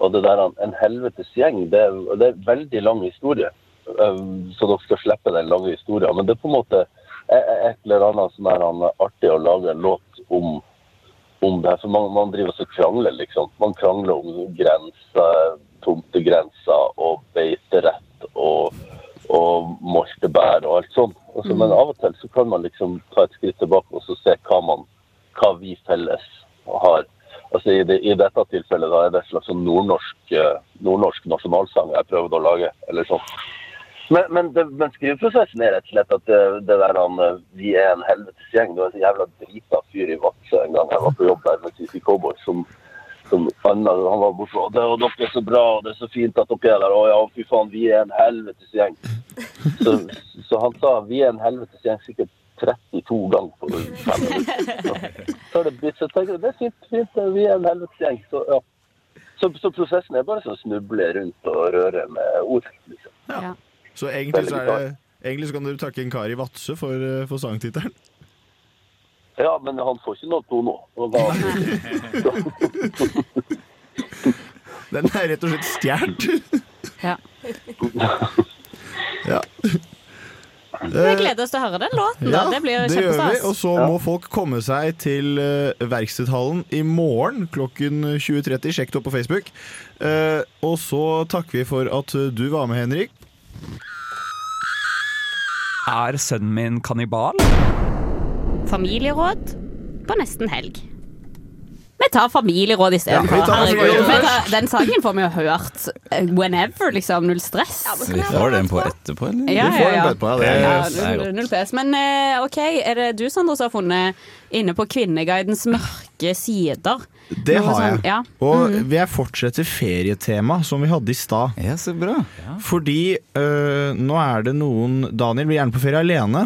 Og det der, en helvetes gjeng, det, er- det er en veldig lang historie. eh, så dere skal slippe den lange historien. Men det er på en måte e- e- et eller annet som er han, artig å lage en låt om, om det her. For man, man driver og så krangler, liksom. Man krangler om grenser, tomtegrenser og beiterett og, og moltebær og alt sånt. Og så-
Mm.
Men av og til så kan man liksom ta et skritt tilbake og så se hva, man, hva vi felles har. Altså i, det, I dette tilfellet da er det et slags sånn nordnorsk, eh, nordnorsk nasjonalsang jeg prøvde å lage. eller sånn. Men, men, det, men skriveprosessen er rett og slett at det, det der han, eh, vi er en helvetes gjeng. Det var en jævla drita fyr i Vadsø en gang jeg var på jobb der med CC Cowboy. som som Anna, han var borte og, det- og dere er så bra, og det er så fint at dere er der. Å ja, fy faen, vi er en helvetes gjeng. Så, så han sa vi er en helvetes gjeng sikkert 32 ganger på fem minutter. Så har det blitt så tenker jeg, det er fint, fint, det- vi er en helvetes gjeng. Så, ja. så, så prosessen er bare sånn snuble rundt og røre med ord. Liksom.
Så egentlig så, er det, egentlig så kan dere takke en kar i Vadsø for, eh, for sangtittelen. [laughs]
Ja, men han får ikke noe to nå. Og da,
Den er rett og slett stjålet.
Ja.
[laughs] ja. Eh,
Vi gleder oss til å høre den låten. da. det blir
det gjør vi. Og
kjempestas.
så må folk komme seg til eh, Verkstedhallen i morgen klokken 20.30. Sjekk det opp på Facebook. Eh, og så takker vi for at eh, du var med, Henrik.
Er sønnen min kannibal?
Mm.
Familieråd på nesten helg. Vi tar familieråd
Ja,
istedenfor.
vi tar
herregud.
familieråd
Vi
først.
tar- den sangen får vi jo hørt eh, whenever, liksom. Null stress.
Vi får den på etterpå, eller? [laughs]
Ja, ja, ja.
Eh,
Ja,
det er
null,
godt.
null PS. Men eh, OK, er det du, Sander, som har funnet inne på Kvinneguidens mørke sider?
Det
Noe
har jeg.
sånn- Ja.
Og jeg fortsetter ferietema som vi hadde i stad.
Mm. Ja, så bra.
Fordi øh, nå er det noen Daniel blir gjerne på ferie alene.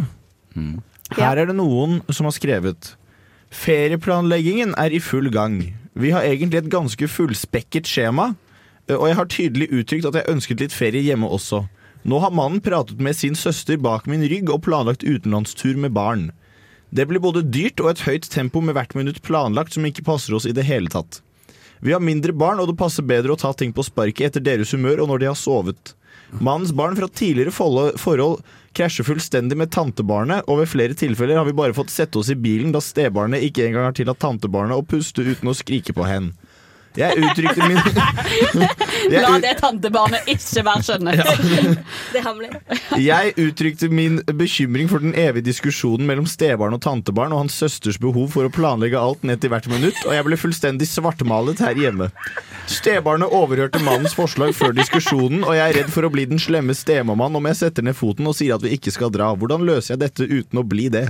Mm.
Her er det noen som har skrevet Ferieplanleggingen er i full gang. Vi har egentlig et ganske fullspekket skjema, øh, og jeg har tydelig uttrykt at jeg ønsket litt ferie hjemme også. Nå har mannen pratet med sin søster bak min rygg og planlagt utenlandstur med barn. Det blir både dyrt og et høyt tempo med hvert minutt planlagt som ikke passer oss i det hele tatt. Vi har mindre barn, og det passer bedre å ta ting på sparket etter deres humør og når de har sovet. Mannens barn fra tidligere forlo- forhold krasjer fullstendig med tantebarnet, og ved flere tilfeller har vi bare fått sette oss i bilen da stebarnet ikke engang har tillatt tantebarnet å puste uten å skrike på hen. Jeg uttrykte min [laughs] Jeg
La
ut-
det tantebarnet ikke være skjønnet.
Det er hemmelig.
Jeg uttrykte min bekymring for den evige diskusjonen mellom stebarn og tantebarn og hans søsters behov for å planlegge alt ned til hvert minutt, og jeg ble fullstendig svartmalet her hjemme. Stebarnet overhørte mannens forslag før diskusjonen, og jeg er redd for å bli den slemme stemammaen om jeg setter ned foten og sier at vi ikke skal dra. Hvordan løser jeg dette uten å bli det?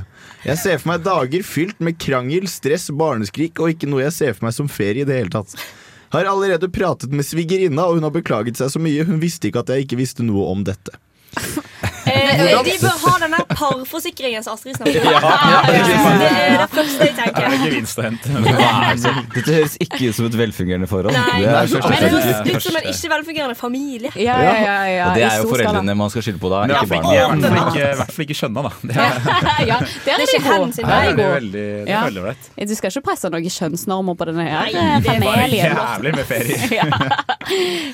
Jeg ser for meg dager fylt med krangel, stress, barneskrik og ikke noe jeg ser for meg som ferie i det hele tatt. Har allerede pratet med svigerinna, og hun har beklaget seg så mye, hun visste ikke at jeg ikke visste noe om dette.
Eh, De bør ha den der parforsikringen som Astrid snakker om.
Ja, ja,
Det
ja.
er det første jeg
Er det
tenker.
gevinst å hente?
Dette høres ikke ut som et velfungerende forhold.
Nei,
Det er
men det høres
første-
ut som en ikke velfungerende familie.
Og det er jo foreldrene man skal skylde på da,
Men
ikke
i hvert fall
barna.
ikke- i hvert fall ikke- i hvert fall ikke skjønna, da. Det er,
[laughs] ja, det er
Det er
ikke
ikke
god.
hen sin
Den er
feil.
god.
Det er veldig- det er
Ja.
veldig ålreit.
Du skal ikke presse noen kjønnsnormer på denne her
Nei,
eh,
det er bare
familien.
jævlig med ferie.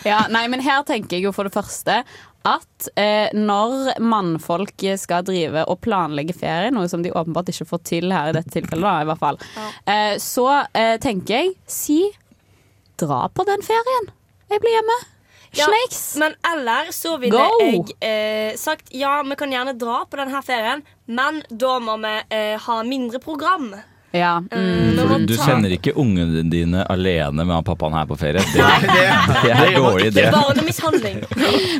ja. ja, nei, men her tenker jeg jo for det første at eh, når mannfolk skal drive og planlegge ferie, noe som de åpenbart ikke får til her i dette tilfellet, da, i hvert fall, eh, så eh, tenker jeg si dra på den ferien. Jeg blir hjemme.
Ja,
Snakes.
Men eller så ville
Go!
jeg eh, sagt ja, vi kan gjerne dra på denne ferien, men da må vi eh, ha mindre program.
Ja. mm.
Mm,
Nå må
For du
ta-
sender ikke ungene dine alene med han pappaen her på ferie. Det, det er
Det
en dårlig idé.
[laughs]
Barnemishandling.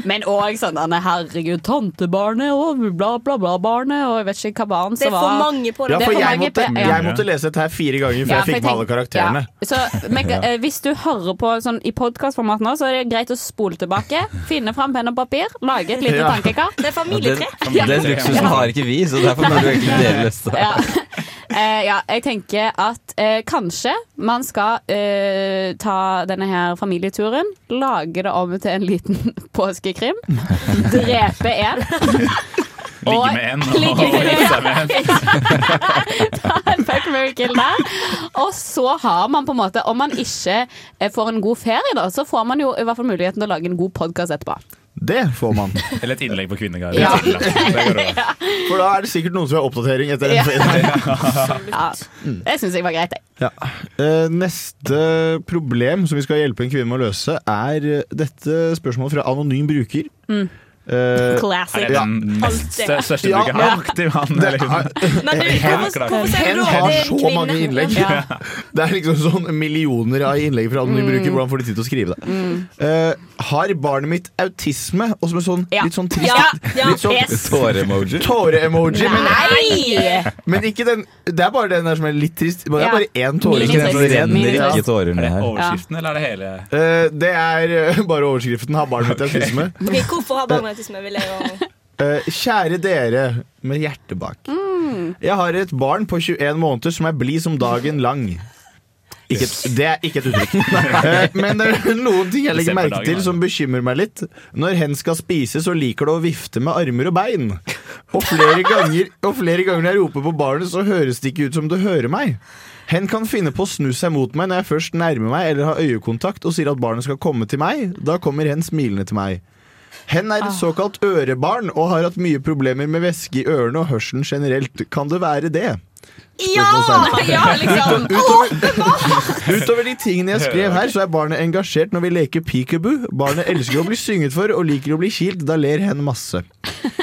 Men òg sånn denne, herregud, tantebarnet og bla, bla, bla barnet og jeg vet ikke hva barn
Det er
som var
for mange
Ja,
på det.
Det er
for
for
jeg
mange
måtte,
pe- ja.
jeg måtte lese dette her fire ganger før
Ja,
jeg fikk med alle
tenk-
karakterene.
ja. Så,
[laughs]
men,
Ja.
eh, hvis du hører på sånn, i podkastformat nå, så er det greit å spole tilbake. Finne fram penn og papir, lage
[laughs]
et lite
Ja.
tankekart.
Det er
Og Den, den luksusen har ikke vi, så derfor burde du egentlig dele lista.
Ja. [laughs] Eh, ja, jeg tenker at eh, kanskje man skal eh, ta denne her familieturen, lage det om til en liten [laughs]
[laughs]
påskekrim, drepe en
Ligge
[laughs]
med
[laughs]
en og
Ligge med en.
gifte seg med en.
Ta en fuck, marry, kill der. Og så så har man på en måte Om man ikke eh, får en god ferie, da, så får man jo i hvert fall muligheten til å lage en god podkast etterpå.
Det får man.
Eller et innlegg på Kvinneguiden.
Ja.
[laughs]
For da er det sikkert noen som har oppdatering etter
[laughs]
en
Ja.
ferie.
Ja,
Mm.
det syns jeg var greit, jeg.
Ja. Eh, neste problem som vi skal hjelpe en kvinne med å løse, er eh, dette spørsmålet fra anonym bruker.
Mm.
Eh,
Classic.
ja.
Stør- Mm. Største
Ja,
bruker han er aktiv, han.
Det
eller liksom.
[laughs] er-
Men du,
Hen-
hvorfor- hvorfor sier
Hen
du
har
det er en
så
kvinne?
mange innlegg.
Ja.
[laughs] Det er liksom sånn millioner av innlegg fra anonyme
Mm.
brukere. Hvordan får de tid til å skrive det?
Mm.
Eh, har barnet mitt autisme? Og som en sånn litt sånn trist
Ja, ja,
litt sånn-
yes.
Tåre-emoji?
Tåre-emoji. men-
Nei!
Men ikke den Det er bare den der som er litt trist. Det er
Ja.
bare én tåre.
Minus
den som
seks.
renner,
Minus
ja.
Ikke tårer ned her.
Overskriften, eller er det hele?
Eh, det er eh, bare overskriften. Har barnet mitt autisme?
Ok, Hvorfor har barn autisme? Vil jeg jo
Eh, kjære dere med hjertet bak. Jeg har et barn på 21 måneder som er blid som dagen lang. Ikke et, det er ikke et uttrykk. Eh, Men det er noen ting jeg legger merke til som bekymrer meg litt. Når hen skal spise, så liker det å vifte med armer og bein. Og flere ganger, og flere ganger når jeg roper på barnet, så høres det ikke ut som det hører meg. Hen kan finne på å snu seg mot meg når jeg først nærmer meg eller har øyekontakt og sier at barnet skal komme til meg. Da kommer hen smilende til meg. Hen er et såkalt ørebarn og har hatt mye problemer med væske i ørene og hørselen generelt. Kan det være det?
Ja!
[laughs]
Spørsmålstegn.
ja liksom.
Utover de tingene jeg skrev her, så er barnet engasjert når vi leker peekaboo. Barnet elsker å bli synget for og liker å bli kilt. Da ler hen masse.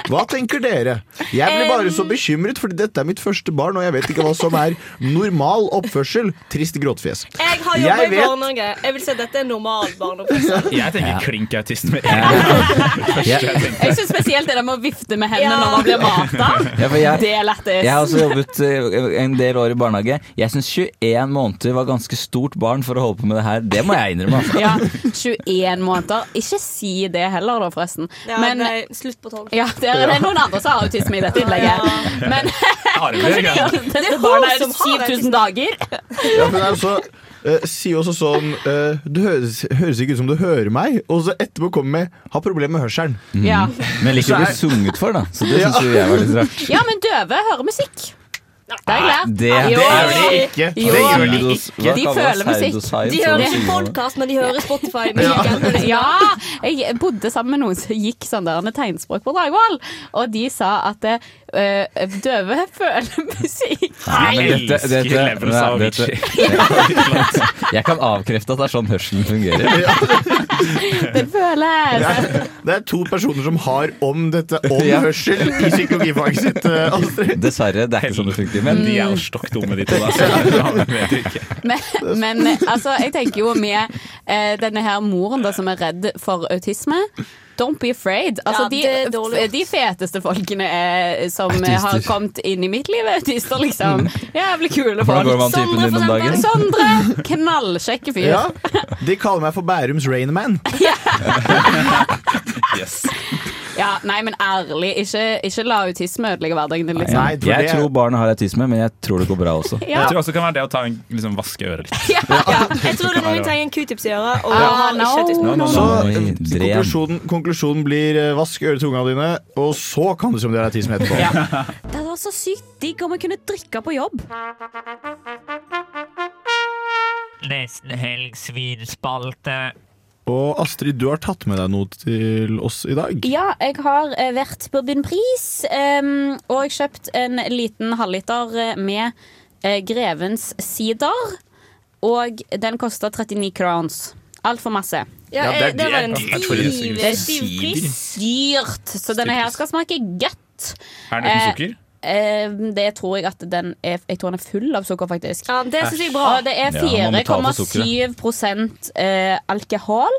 Hva tenker dere? Jeg blir bare så bekymret fordi dette er mitt første barn, og jeg vet ikke hva som er normal oppførsel. Trist gråtfjes.
Jeg har
Jeg
jobba i
vet-
barnehage. Jeg vil si at dette er normal barneoppførsel.
[laughs]
Jeg tenker
Ja.
klink autist med en gang. Første jeg tenker.
Jeg syns spesielt det der med å vifte med hendene
Ja.
når man blir mata.
[laughs] Ja, for jeg-
det er lættis.
Jeg har også jobbet eh, en del år i barnehage. Jeg syns 21 måneder var ganske stort barn for å holde på med det her. Det må jeg innrømme. Altså.
Ja, 21 måneder. Ikke si det heller, da, forresten.
Ja,
Men-
nei, slutt på tolv.
Ja, det er, det er noen andre som har autisme i dette innlegget. Men
Armer,
det [laughs]
ja.
Det er
er
hun
barna er
som har
7000 dager.
Ja, men altså, eh, si også sånn eh, Det høres, høres ikke ut som du hører meg. Og så etterpå kommer med 'har problemer med hørselen'.
Ja.
Men
Så
liker å
er-
bli sunget for, da. Så det
Ja.
syns jo jeg var litt rart.
ja, men døve hører musikk. Det har jeg lært.
Det
Jo.
gjør de
ikke.
Jo.
Det gjør de ikke.
De
Hva kaller
føler
det?
musikk.
Pseudoscience,
De
eller noe
hører ikke
sånt.
podkast, men de hører Spotify-musikken.
Ja, jeg bodde sammen med noen som gikk sånn der en tegnspråk på Dragvoll, og de sa at eh, døve føler [laughs] musikk.
Nei, men dette,
Elsker
dette,
levels
nei,
av
dette,
[laughs]
jeg kan avkrefte at det er sånn hørselen fungerer.
Det føles.
Det er to personer som har om dette om
Ja.
hørsel i psykologifaget sitt. eh, Astrid.
Dessverre, det er ikke sånn det funker. Men
Men de er jo stokk dumme, de to. Da, så det vet vi ikke.
Men, men altså, jeg tenker jo med eh, denne her moren da, som er redd for autisme. Don't be afraid. Altså,
Ja, det er
de,
dårlig gjort.
de feteste folkene eh, som eh,
Autister.
har kommet inn i mitt liv, er autister, liksom. Jævlig kule
Mm. Hvordan går
folk.
man typen din om dagen?
Sondre! Knallkjekke fyr.
Ja. De kaller meg for Bærums Rainman.
Yes.
Ja, nei, men ærlig, ikke, ikke la autisme ødelegge hverdagen din, liksom.
Ja,
Nei, for
jeg
det-
tror barnet har autisme, men jeg tror det går bra også.
Ja.
Jeg tror også det kan være det å ta en, liksom, vaske øret litt.
Jeg tror det er noen trenger en q-tips i øret. Og
Ah,
har ikke autisme.
no, no,
Så eh,
no.
Oi, dren.
konklusjonen, konklusjonen blir eh, vask øretunga dine, og så kan du se om du har autisme etterpå.
Det hadde vært så sykt digg om jeg kunne drikke på jobb.
Nesten helg svinspalte.
Og Astrid, du har tatt med deg noe til oss i dag.
Ja, jeg har eh, vært på Bunnpris, um, og jeg kjøpt en liten halvliter eh, med eh, Grevens sider. Og den kosta 39 crowns. Altfor masse.
Ja,
Ja, det er
jeg- det var en
det. Jeg tror det er
stiv,
sikkert
stiv
sider.
pris.
Dyrt! Så denne her skal smake godt.
Er den uten sukker?
Eh, det tror jeg at den er Jeg tror den er full av sukker, faktisk.
Ja, det synes jeg er bra.
Og det er
Ja, man må ta for
4,7 eh, alkohol.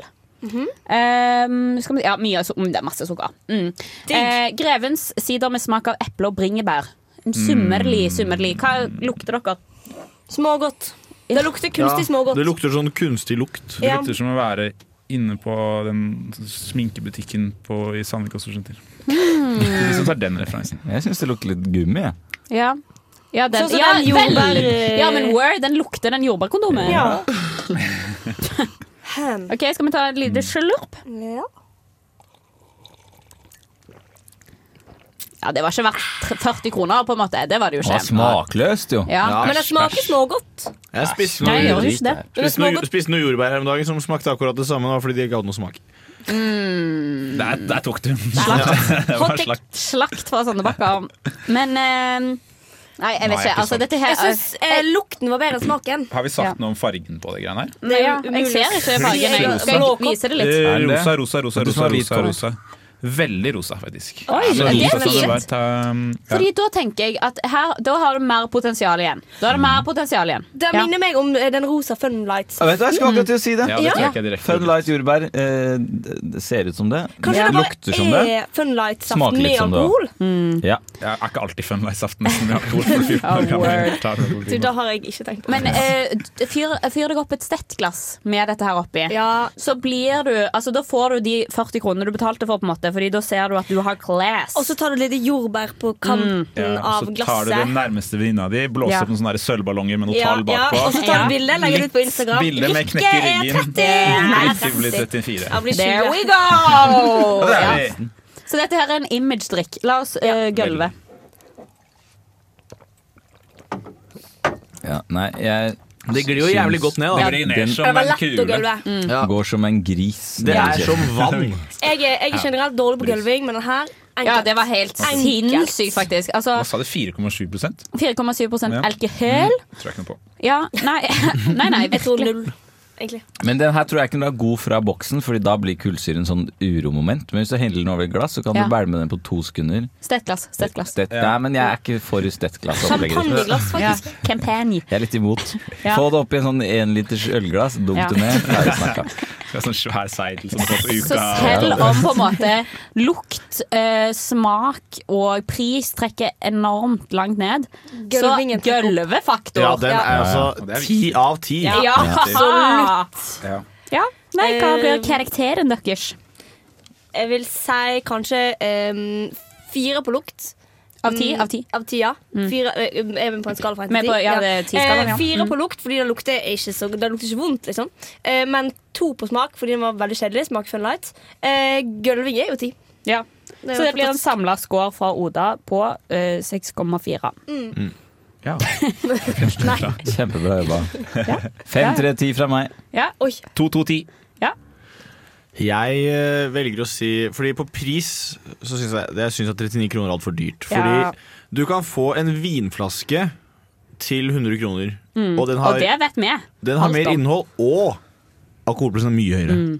Mhm. Eh, skal vi, ja, mye, su- mm, det er masse sukker. Mm. Eh, Grevens sider med smak av eple og bringebær. En
Mm.
Summerlig, summerlig. Hva lukter dere?
Smågodt. Det lukter kunstig smågodt.
det lukter sånn kunstig lukt.
Det
Ja.
lukter som å være inne på den sminkebutikken på, i Sandvik og Storsenter. De som tar den referansen.
Jeg syns det lukter litt gummi. jeg.
Ja. Ja, den,
Sånn som
ja,
den jordbær-
vel- ja, men word, den lukter den jordbærkondomen.
Ja. Hem.
OK, skal vi ta et lite slurp?
Ja.
Ja, det var ikke verdt 40 kroner, på en måte. Det var det jo
Å,
ikke.
smakløst, jo.
Ja. Men det smaker
smågodt.
Jeg spiste
Nei,
noe,
jeg gjør jo ikke det.
Spiste noe, spiste noe jordbær her om dagen som smakte akkurat det samme. Det var fordi de ikke hadde noe smak.
Mm.
Der, der tok du.
Det var
Hot take slakt fra Sandebakker. Men eh, Nei, jeg vet
Nei,
ikke.
ikke
Altså,
sant.
dette her
Jeg synes, eh, lukten var bedre enn smaken.
Har vi sagt noe om fargen på det greiene her?
Nei, ja, jeg
umulig.
ser ikke fargen. Jeg skal
Rosa.
vise det litt.
Eh,
Er det?
Rosa, rosa, rosa,
Du som
rosa,
er hvit
rosa,
kål.
rosa. Veldig rosa, faktisk.
Oi,
Så
det er
rosa som
fint.
det var. Ta, um, ja.
Fordi da tenker jeg at her, da har du mer potensial igjen. Da er det mer potensial igjen.
Det minner meg om eh, den rosa Funlights.
Jeg vet det, jeg skal akkurat til å si det.
Ja, det tror jeg ikke
Fun Light jordbær eh, d- d- ser ut som det.
Kanskje det eh,
lukter som
bare
det.
er Funlight-saften
Smaker litt
med
som det
alkohol?
også. Ja.
Jeg er ikke alltid fun lights-aften med alkohol. For 14 år
Oh,
gammel.
word.
Tar alkohol.
Du, da har jeg ikke tenkt på det.
Men eh, d- fyr, fyr deg opp et stettglass med dette her oppi. Så blir du Altså, da får du de 40 kronene du betalte for, på en måte, Fordi da ser du at du har class.
Og så tar du litt jordbær på kanten
Mm.
Ja, og
av
så tar du den
glasset.
nærmeste venninna di, blåser
Ja.
opp noen sånne der sølvballonger med noe
Ja,
tall
ja,
bakpå.
og så tar du bildet, legger det ut på Instagram.
Bilde med knekk i
Rikke er
ryggen.
30. Nei,
Rikke blir 34.
Jeg blir
There
20. [laughs]
we go!
Der
Ja.
er vi.
Så dette her er en image-drikk. La oss eh, gølve.
Ja, nei, jeg
Det glir jo jævlig godt ned, da.
Den-
Det glir ned som
Det var en lett å kule. gulve. Mm.
Ja. Går som en gris.
Det er som vann.
Jeg er, jeg er generelt dårlig på gulving, men den her
Ja, det var helt sinnssykt, faktisk. Altså
Hva sa du, 4,7 prosent?
4,7
Ja.
alkohol.
Tror jeg ikke noe på.
Ja, nei, [laughs] nei, nei
Jeg tror
virkelig.
null, egentlig.
Men den her tror jeg ikke den er god fra boksen, Fordi da blir kullsyren sånn uromoment. Men hvis du heller den over et glass, så kan
Ja.
du bælme den på to sekunder.
Stettglass. Stettglass.
Stett, Nei, men jeg er ikke for stettglassopplegget.
Champagneglass, faktisk. Campagne.
Jeg er litt imot.
Ja.
Få det opp i en sånn enliters ølglass, dunk
Ja.
det ned. ferdig snakka.
Det er sånn svær seidel som går på uka.
Så selv om på en måte lukt, eh, smak og pris trekker enormt langt ned, så
Gølvingen trekker opp.
gølvefaktor
Ja, den er
Ja,
altså
det er
ti av ti.
Ja, ja. absolutt.
Ja.
Ja. Nei, hva blir
Eh,
karakteren deres?
Jeg vil si kanskje ehm, fire på lukt.
Av ti,
Mm,
av ti.
Av ti, ja. Fire, eh, er vi på en skala fra
Vi er
én til
på-
ti?
ja, det er ti-skalaen, ja.
Eh, Fire
Mm.
på lukt, fordi det lukter ikke så Det lukter ikke vondt, liksom. Eh, men to på smak, fordi den var veldig kjedelig. Smak fun light. Eh, Gulving er jo ti.
Ja. Så det blir en samla score fra Oda på eh, 6,4.
Ja.
Kjempebra jobba. Fem, tre, ti fra meg.
Ja. Oi.
To, to, ti.
Jeg eh, velger å si Fordi på pris så syns jeg, jeg synes at 39 kroner er altfor dyrt. Fordi
Ja.
du kan få en vinflaske til 100 kroner.
Mm.
Og den har,
det vet vi.
den har
Alt
mer
om.
innhold, og alkoholprisen er mye høyere.
Mm.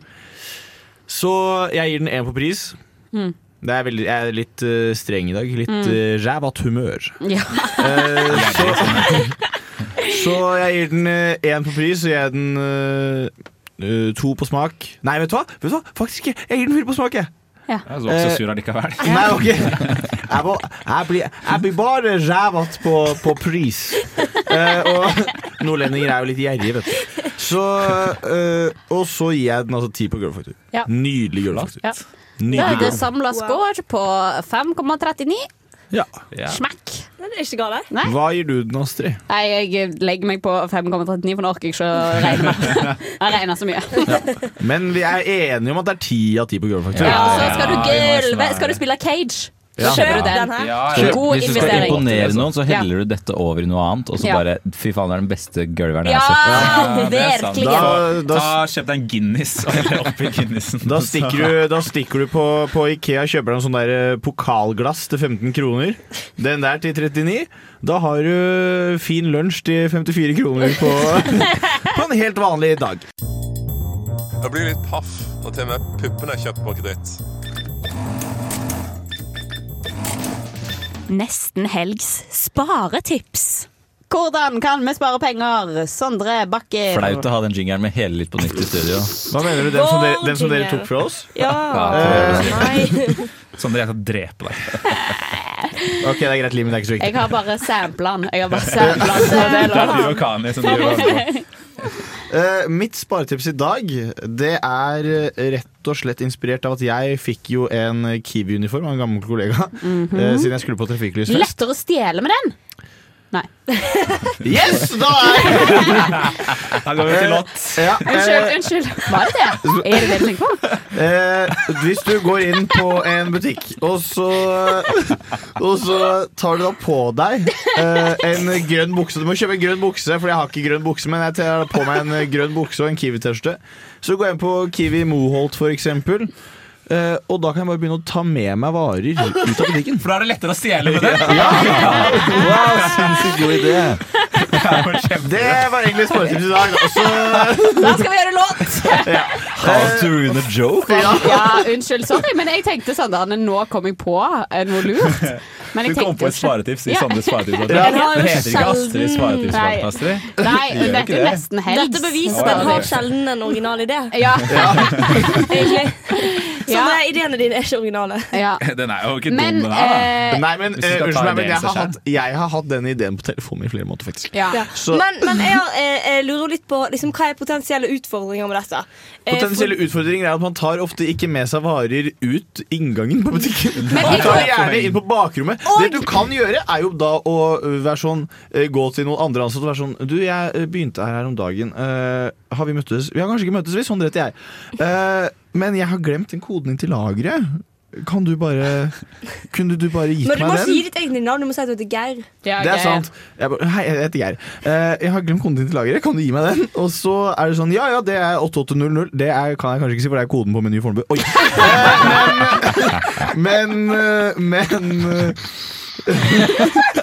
Så jeg gir den én på pris.
Mm.
Det er veldig, jeg er litt eh, streng i dag. Litt
Mm.
mm. rævat humør.
Ja.
Eh, så, så jeg gir den én på pris, og jeg gir den eh, eh, to på smak. Nei, vet du hva? Vet du hva? Faktisk ikke! Jeg gir den fire på smak, jeg.
Ja.
Jeg var ikke så sur allikevel.
Eh, Nei, ok. Jeg, må, jeg, blir, jeg blir bare rævat på, på pris. Eh, og nordlendinger er jo litt gjerrige, vet du. Så, eh, og så gir jeg den altså ti på gulvfaktor.
Ja.
Nydelig gulvfaktor.
Ja. Da er
Nydelig
det
gulvfaktor.
samla score på 5,39.
Ja.
Smekk.
Det er ikke galt.
Nei.
Hva gir du den, Astrid?
Nei, jeg legger meg på 5,39, for nå orker jeg ikke å regne mer. Jeg regner så mye.
Men vi er enige om at det er ti av ti på gulvfaktor.
Ja, og så skal du
Ja, vi må liksom
gølve.
være-
Skal du spille cage?
Ja.
Da kjøper du
Ja.
den.
Ja,
Så
God
Hvis du skal
investering.
imponere noen, så heller du dette over i noe annet, og så
Ja.
bare Fy faen, det er den beste gulveren jeg
Ja, [laughs]
har sett.
det er sant. virkelig.
Da- da-
Ta, kjøp deg en Guinness og [laughs] hell oppi Guinnessen.
Da stikker du, da stikker du på, på Ikea og kjøper deg en sånn der eh, pokalglass til 15 kroner. Den der til 39. Da har du fin lunsj til 54 kroner på, [laughs] på en helt vanlig dag.
Jeg blir litt paff når til og med puppene er kjøpt på kreditt.
Nesten helgs sparetips. Hvordan kan vi spare penger? Sondre Bakke.
Flaut å ha den jingeren med hele Litt på nytt i studio.
Hva mener du? Den som dere, den som dere tok fra oss?
Ja.
Nei.
Sondre, jeg skal drepe deg.
Ok, det er greit, livet er ikke så
Jeg
viktig.
har bare sampla den. Jeg har bare sampla den. Det er lov.
Kani som driver og holder på.
Eh, mitt sparetips i dag Det er eh, rett og slett inspirert av at jeg fikk jo en Mhm. Kiwi-uniform av en gammel kollega. eh, Siden jeg skulle på trafikklysfest.
Lettere å stjele med den. Nei.
Yes! Da er
Da går vi til låt.
Ja,
Unnskyld,
eh,
unnskyld. Var det det? Er det det du tenker på?
Eh, hvis du går inn på en butikk, og så, og så tar du da på deg eh, en grønn bukse Du må kjøpe en grønn bukse, for jeg har ikke grønn bukse, men jeg tar på meg en grønn bukse og en Kiwi-T-skjorte. Så går jeg inn på Kiwi Moholt, for eksempel. eh, og da kan jeg bare begynne å ta med meg varer ut av butikken.
For da er det lettere å stjele med det.
Wow, sinnssykt god idé. Det var egentlig spørretips i dag. Og så
Da skal vi gjøre låt!
How to ruin a joke?
Ja, unnskyld. Sorry, men jeg tenkte sånn da, nå kom jeg på eh, noe lurt. Men
Du
jeg
kom
tenkte
på et
selv-
sparetips i
Ja.
Sandres sparetipspodkast.
Den har jo
Det heter ikke Astrid
sjelden- Nei.
sparetipspodkast, Astrid.
Nei,
Det gjør
men
ikke
dette er
det.
nesten helst.
Dette beviser at
Ja, ja,
den har
det.
sjelden en original
[laughs]
idé.
Ja.
Egentlig. Så
Ja.
det- ideene dine Sånn er ikke
[laughs]
originale.
Den er jo ikke
Men,
dum, den her. da.
Nei, men,
Hvis du skal
eh,
ta
unnskyld meg, men
ideen
jeg
seg
har,
selv.
hatt, jeg har hatt den ideen på telefonen min i flere måneder, faktisk.
Ja.
Så
Men, men jeg, har- eh, jeg lurer litt på liksom, hva er potensielle utfordringer med dette. Eh,
Potensielle utfordringer er at man tar ofte ikke med seg varer ut inngangen på butikken.
Men
Man
jeg
tar
tror-
gjerne inn på bakrommet. Det du kan gjøre, er jo da å ø, være sånn ø, gå til noen andre ansatte og være sånn Du, jeg ø, begynte her her om dagen. Ø, har vi møttes? Vi har kanskje ikke møttes, vi. Sånn rett jeg. Eh, men jeg har glemt den koden inn til lageret. Kan du bare Kunne du bare gitt
Men
meg
du
den?
må ikke gi ditt eget navn, du må si at du heter Geir.
Det er sant. Jeg bare, Hei, jeg heter Geir. Eh, jeg har glemt koden din til lageret. Kan du gi meg den? Og så er det sånn Ja ja, det er 8800. Det er, kan jeg kanskje ikke si, for det er koden på Meny Fornebu. Oi! Eh, men eh, Men eh,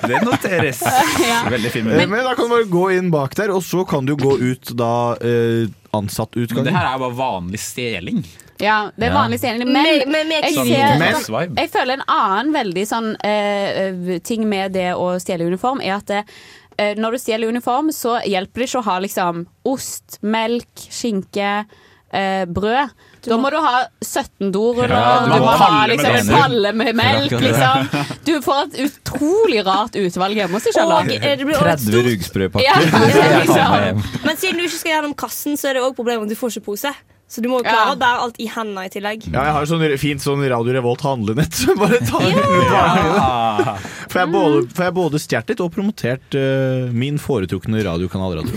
Det
[laughs]
noteres.
Ja.
Veldig fin
men, eh,
melding.
men da kan du bare gå inn bak der, og så kan du gå ut da eh,
Men
ansattutgangen.
det her er jo bare vanlig stjeling.
Ja, det er
Ja.
vanlig stjeling.
Med-
Men,
med- med
jeg,
Sånn
ser,
Jonas-vibe.
jeg føler en annen veldig sånn eh, ting med det å stjele uniform, er at eh, når du stjeler uniform, så hjelper det ikke å ha liksom ost, melk, skinke. eh, brød. Da må du ha 17 doruller,
Ja,
du, må ha liksom, en palle med melk.
Akkurat det.
Liksom. Du får et utrolig rart utvalg hjemme hos deg sjøl.
Og, eh, det blir også et
30 rugsprøpakker.
Ja,
det skal jeg ta
[laughs] liksom.
med hjem.
Men siden du ikke skal gjennom kassen, så er det også problemet at du får ikke pose. Så du må jo
Ja.
klare å bære alt i hendene i tillegg.
Ja, jeg har sånn fint sånn Radio Revolt handlenett. [laughs] så Bare ta det ut.
Ja.
For jeg både, for jeg både stjålet litt og promotert eh, min foretrukne radiokanal Radio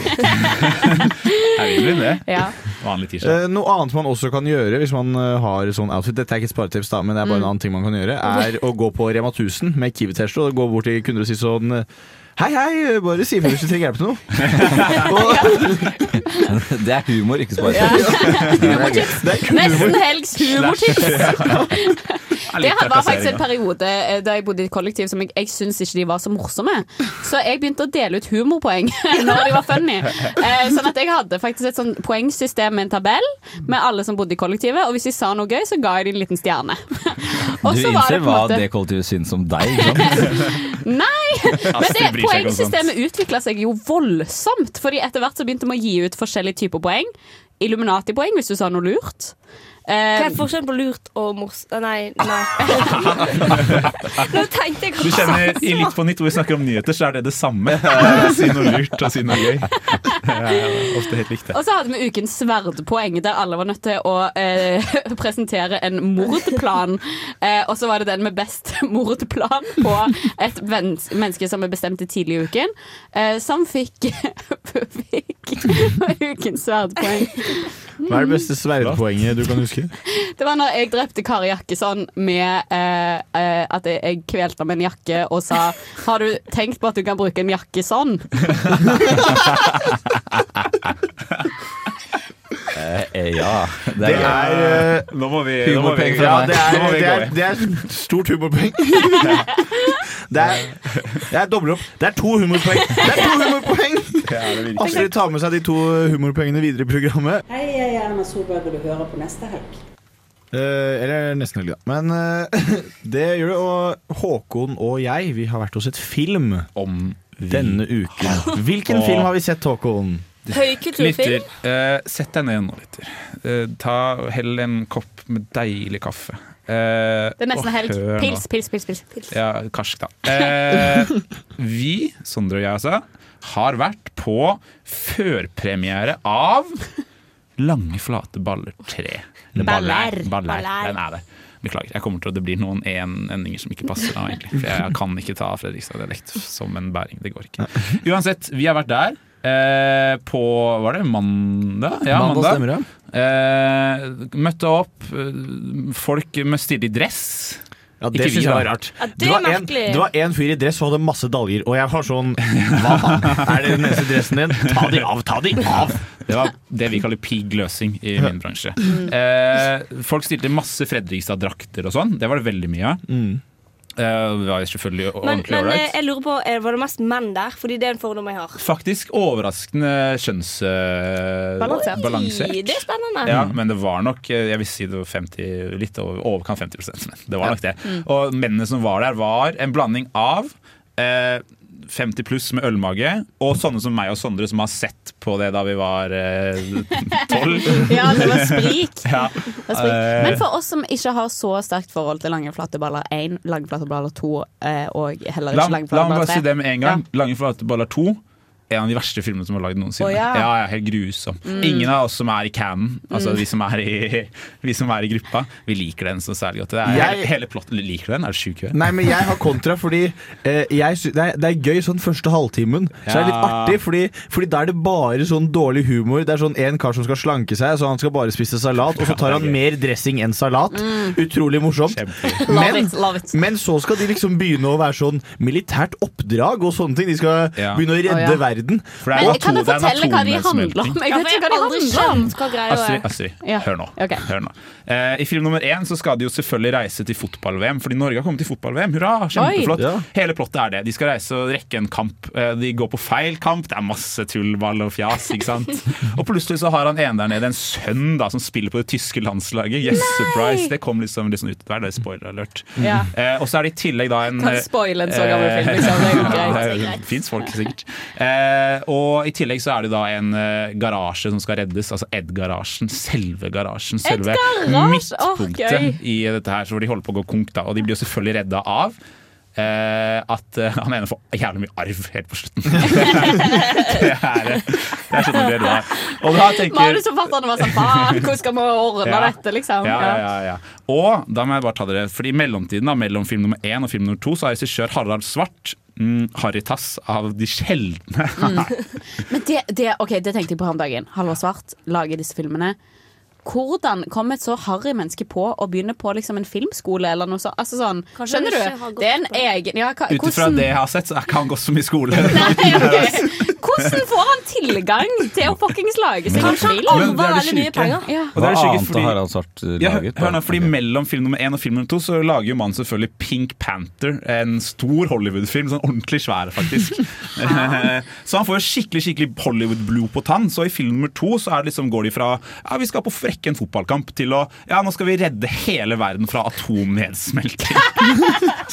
Er vi med det?
Ja.
Vanlig
Eh,
tirsdag.
noe annet man også kan gjøre hvis man eh, har sånn outfit Dette er ikke et sparetips, da, men det er bare en annen ting man kan gjøre. Er å gå på Rema 1000 med Kiwi-T-skjorte og gå bort til kunder og si sånn eh, Hei, hei, bare si ifra hvis du trenger hjelp til noe. og,
Det er humor, ikke sparetips.
[laughs]
det er kun humor.
Nesten helgs
[laughs]
humortips. Det
litt
var faktisk
trakassering,
en
da.
periode eh, da jeg bodde i et kollektiv som jeg, jeg syntes ikke de var så morsomme. Så jeg begynte å dele ut humorpoeng [laughs] når de var funny. Eh, sånn at jeg hadde faktisk et sånn poengsystem med en tabell med alle som bodde i kollektivet, og hvis de sa noe gøy, så ga jeg dem en liten stjerne.
[laughs] Du
Og så var
innser
det på en
hva
måte-
det kollektivet syns om deg, ikke
[laughs]
sant?
Nei! Men det,
[laughs] Astrid bryr seg ikke om sånt.
poengsystemet utvikla seg jo voldsomt. Fordi etter hvert så begynte vi å gi ut forskjellige typer poeng. Illuminati-poeng hvis du sa noe lurt.
Hva
Eh,
er forskjellen på lurt og mors... Nei,
[laughs]
nei. Nå tenkte jeg
Du kjenner i Litt på nytt hvor vi snakker om nyheter, så er det det
[laughs]
samme. Si noe lurt og si noe gøy. Det er ofte helt likt,
og
det.
så hadde vi ukens sverdpoeng, der alle var nødt til å eh, [laughs] presentere en mordplan. Eh, og så var det den med best [laughs] mordplan på et ven- menneske som vi bestemte tidlig i uken, eh, som fikk, [laughs] fikk ukens sverdpoeng.
Hva er det beste sverdpoenget du kan huske?
Det var når jeg drepte Kari Jakkesson med eh, eh, at jeg- jeg kvelte med en jakke og sa Har du tenkt på at du kan bruke en jakke sånn?
Eh, ja.
Det er eh,
Nå må vi nå må
Humorpoeng
vi-
ja,
fra
det er,
meg.
Nå må
det
vi gå
er,
i.
det er stort
[laughs]
humorpoeng. Det er, jeg dobler opp. Det er to humorpoeng! Det er to humorpoeng! Astrid tar med seg de to humorpoengene videre i programmet.
Hei, jeg er Erna Solberg, og du hører på neste helg.
Eh, eller nesten helg, da. Men eh, det gjør det. Og Håkon og jeg, vi har vært hos et film
om
denne uken. Hvilken
Og-
film har vi sett, Håkon?
Høykulturfilm.
Lytter, eh, sett deg ned nå, lytter. Eh, ta, hell en kopp med deilig kaffe. Eh,
Det er nesten
og
helg.
hør nå.
Pils, pils, pils. pils. pils.
Ja, karsk, da.
[laughs]
Eh, vi, Sondre og jeg altså, har vært på førpremiere av Lange flate baller 3. Eller
Baller.
Baller.
Baller.
Den er det. Beklager. jeg kommer til at Det blir noen en endinger som ikke passer. Nå, egentlig. For jeg kan ikke ta Fredrikstad-dialekt som en bæring. Det går ikke. Uansett, vi har vært der. Eh, på var det mandag?
Mandag stemmer det.
Eh, møtte opp. eh, Folk med stilte i dress.
Ja, det
ikke vi,
synes jeg
da.
var rart. det var en,
merkelig.
det var en fyr i dress som hadde masse daljer, og jeg var sånn Hva faen?
[laughs]
Er det den eneste dressen din? Ta de av, ta de av!
Det var det vi kaller piggløsing i min bransje. Eh, folk stilte masse Fredrikstad-drakter og sånn. Det var det veldig mye av. Eh, det var jo selvfølgelig
Men,
ordentlig
men eh,
ålreit.
jeg lurer på, eh, var det mest menn der? Fordi det er en fordom jeg har.
Faktisk overraskende kjønnsbalanse.
Balansert. Oi, Det er spennende.
Ja, men det var nok eh, jeg vil si det var 50, litt over, overkant 50 menn. Det var nok det.
Mm.
Og mennene som var der, var en blanding av eh, 50 pluss med ølmage, og sånne som meg og Sondre som har sett på det da vi var eh,
[laughs]
12.
Ja, det var sprik.
Ja.
Det var sprik.
Eh.
Men for oss som ikke har så sterkt forhold til lange flate baller 1, lange flate baller 2 eh, og heller
La,
ikke
la
lange
meg
flate
bare
baller 3
si det med en gang. 'Lange flate baller 2' er en av de verste filmene som er lagd noensinne.
Å, ja.
ja. ja, helt grusom.
Mm.
Ingen av oss som er i canen, altså
Mm.
vi, som er i, [laughs] vi som er i gruppa, vi liker den så særlig godt. Det er,
Jeg-
hele, hele plottet liker den. Er du sjuk i huet?
Nei, men jeg har kontra, fordi eh, jeg sy det, er, det er gøy sånn første halvtimen. Så er det litt
Ja.
artig, fordi, fordi da er det bare sånn dårlig humor. Det er sånn en kar som skal slanke seg, så han skal bare spise salat, og så tar han mer dressing enn salat.
Mm.
Utrolig morsomt. Men, men så skal de liksom begynne å være sånn militært oppdrag og sånne ting. De skal
Ja.
begynne å
Å,
redde
ja.
verden.
For det er Men jo kan du atom- det er fortelle hva de atomnedsmelting. handler om?
Jeg vet ikke hva de handler om.
Astrid, Astrid
Ja.
hør nå.
Ok.
Hør nå. Eh, I film nummer én så skal de jo selvfølgelig reise til fotball-VM, fordi Norge har kommet til fotball-VM. Hurra! Kjempeflott.
Oi. Ja.
Hele plottet er det. De skal reise og rekke en kamp. Eh, de går på feil kamp, det er masse tullball og fjas, ikke
[laughs]
sant. og plutselig så har han ene der nede en sønn da som spiller på det tyske landslaget. Yes,
Nei!
surprise! Det kom liksom, liksom ut. Hva er det? Spoiler alert.
Ja.
Eh, og så er det i tillegg da en eh,
Kan spoile en så gammel film, liksom. Det er jo
[laughs]
greit.
det er- Fins folk, sikkert. Eh, og i tillegg så er det da en eh, garasje som skal reddes. Altså Ed-garasjen. Selve garasjen. Selve
Ed-garasje! Åh,
midtpunktet
gøy.
i dette her, så hvor de holder på å gå konk, da. Og de blir jo selvfølgelig redda av. eh, at eh, han ene får jævlig mye arv helt på slutten. [laughs] det er eh, det er sånn det blir da. Og da tenker
Manusforfatterne var sånn
[laughs]
Faen, hvordan skal vi ordne
Ja.
dette, liksom?
ja, ja, ja, ja. Og da må jeg bare ta dere Fordi i mellomtiden da, mellom film nummer én og film nummer to Så har regissør Harald Svart mm, Haritas av de sjeldne
Men det, det, ok, det tenkte jeg på her om dagen. Halvor Svart lager disse filmene. Hvordan kom et så harry menneske på å begynne på liksom en filmskole eller noe så, altså sånn?
Kanskje han
skjønner
ikke har
du?
gått
Det er en egen ja, hva,
Ut ifra
hvordan,
det jeg har sett, så er ikke han gått så mye [laughs] skole.
hvordan får han tilgang til å fuckings lage seg en
Kanskje han
film?
Men det er det sjuke.
Ja.
Og det er det
Hva
sjuke
annet
fordi-
har han svart uh,
Ja, hør,
laget?
hør nå, fordi Mellom film nummer én og film nummer to så lager jo mannen selvfølgelig Pink Panther. En stor Hollywood-film. Sånn ordentlig svær, faktisk. Eh, så han får jo skikkelig skikkelig Hollywood-blod på tann. Så i film nummer to så er det liksom, går de fra ja, vi skal på frekke en fotballkamp til å ja, nå skal vi redde hele verden fra atomnedsmelting.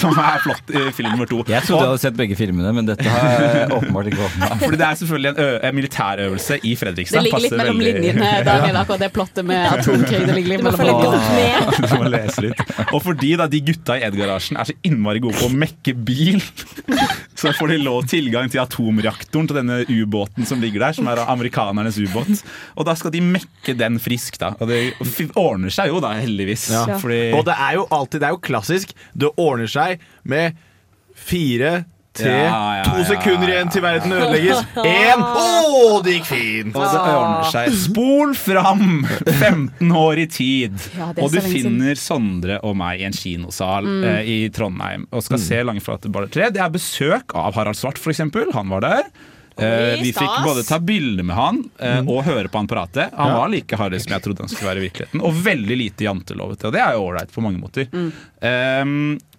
som er flott i film nummer to.
Jeg trodde jeg hadde sett begge filmene, men dette har jeg åpenbart ikke fått med meg.
Fordi det er selvfølgelig en, ø en militærøvelse i Fredrikstad.
Det ligger litt
Passer
mellom
veldig-
linjene, eh, Daniel, akkurat det plottet med atomkrig. Det ligger litt
Du må
mellom
følge
linjene.
godt med.
[laughs] Du må lese litt. Og fordi da de gutta i Ed-garasjen er så innmari gode på å mekke bil, [laughs] så får de lov tilgang til atomreaktoren til denne ubåten som ligger der, som er amerikanernes ubåt. Og da skal de mekke den frisk, da. Og det f- ordner seg jo da, heldigvis.
Ja.
Fordi
Og det er jo alltid, det er jo klassisk. Det ordner seg med fire, tre,
Ja, ja,
to
ja,
sekunder igjen til verden ødelegges. Én Å, det gikk fint!
Og det ordner seg. Spol fram 15 år i tid,
Ja, det er
og du
så lenge siden.
finner Sondre og meg i en kinosal
Mm.
eh, i Trondheim og skal se Langeflate baller 3. Det er besøk av Harald Svart, f.eks. Han var der. Eh,
Oi,
vi fikk
stas.
både ta bilder med han eh, og høre på han prate. Han
Ja.
var like harry som jeg trodde han skulle være i virkeligheten. Og veldig lite jantelovete. Og det er jo ålreit på mange måter. Eh,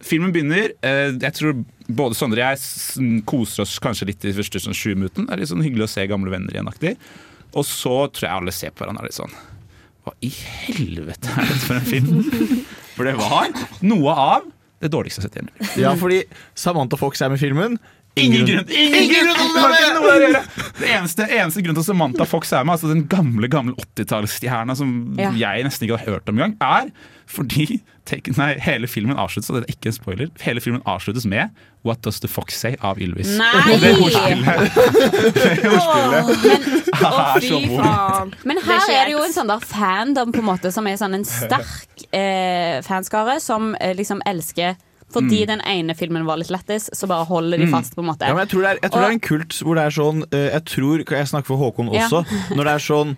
filmen begynner. eh, jeg tror både Sondre og jeg s- koser oss kanskje litt de første sånn, sju minuttene. Det er litt sånn hyggelig å se gamle venner igjen. aktig Og så tror jeg alle ser på hverandre litt sånn Hva i helvete er dette for en film? For det var noe av det dårligste jeg har sett hjemme.
Ja, fordi Samantha Fox er med i filmen.
Ingen grunn Ingen grunn til å være med! Noe der å gjøre. Det eneste, eneste grunnen til at Samantha Fox er med, altså den gamle gamle 80-tallsstjerna som
Ja.
jeg nesten ikke har hørt om engang, er fordi take, nei, hele filmen avsluttes og det er ikke en spoiler, hele filmen avsluttes med What Does The Fox Say av Ylvis.
Nei!
Og det ordspillet, det ordspillet
Å,
er [laughs] så
fy
vondt.
faen.
Men
Det
her
er ikke
er det jo en sånn der fandom på en måte som er sånn en sterk eh, fanskare som eh, liksom elsker fordi
Mm.
den ene filmen var litt lættis, så bare holder de
Mm.
fast. på en måte
Ja, men jeg tror, det er, jeg tror det
Og-
er en kult hvor det er sånn eh, Jeg tror, kan jeg snakke for Håkon
Ja.
også Når det er sånn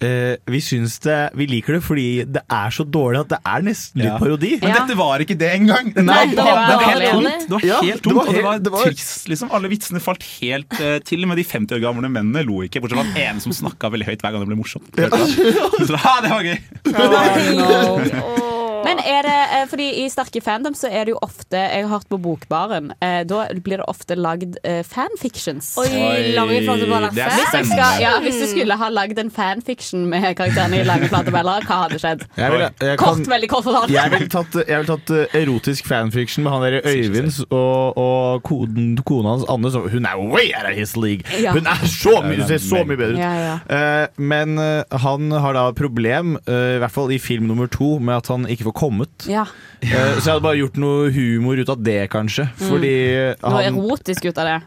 eh, vi syns det, vi liker det fordi det er så dårlig at det er nesten litt
Ja.
parodi.
Men Ja. dette var ikke det engang! Dette
Nei,
var-
det var,
det var
helt
helt
tomt.
tomt. Det var helt tomt, og det var,
det var-
trist. Liksom. Alle vitsene falt helt eh, Til og med de 50 år gamle mennene lo ikke, bortsett fra den ene som snakka veldig høyt hver gang det ble morsomt. Så, ha, [laughs] det var gøy!
[laughs]
Men er det, eh, fordi i sterke fandom så er det jo ofte Jeg har hørt på Bokbaren. Eh, da blir det ofte lagd eh, fanfictions.
Oi, Langeflateballa
Hvis
det er
jeg
fem.
skal- Ja, hvis du skulle ha lagd en fanfiction med karakterene i Lange flatebeller, hva hadde skjedd?
Jeg ville- jeg
kort,
kan-
veldig kort fortalt.
Jeg ville tatt, jeg ville tatt eh, erotisk fanfiction med han der Øyvind og, og koden, kona hans Anne. Som, hun er way out of his league!
Ja.
Hun er så mye, hun ser så mye bedre ut!
Ja, ja.
Eh, men eh, han har da problem, eh, i hvert fall i film nummer to, med at han ikke får kommet.
Ja.
Eh, så jeg hadde bare gjort noe humor ut av det, kanskje.
Mm.
Fordi
Noe
han
erotisk ut av det.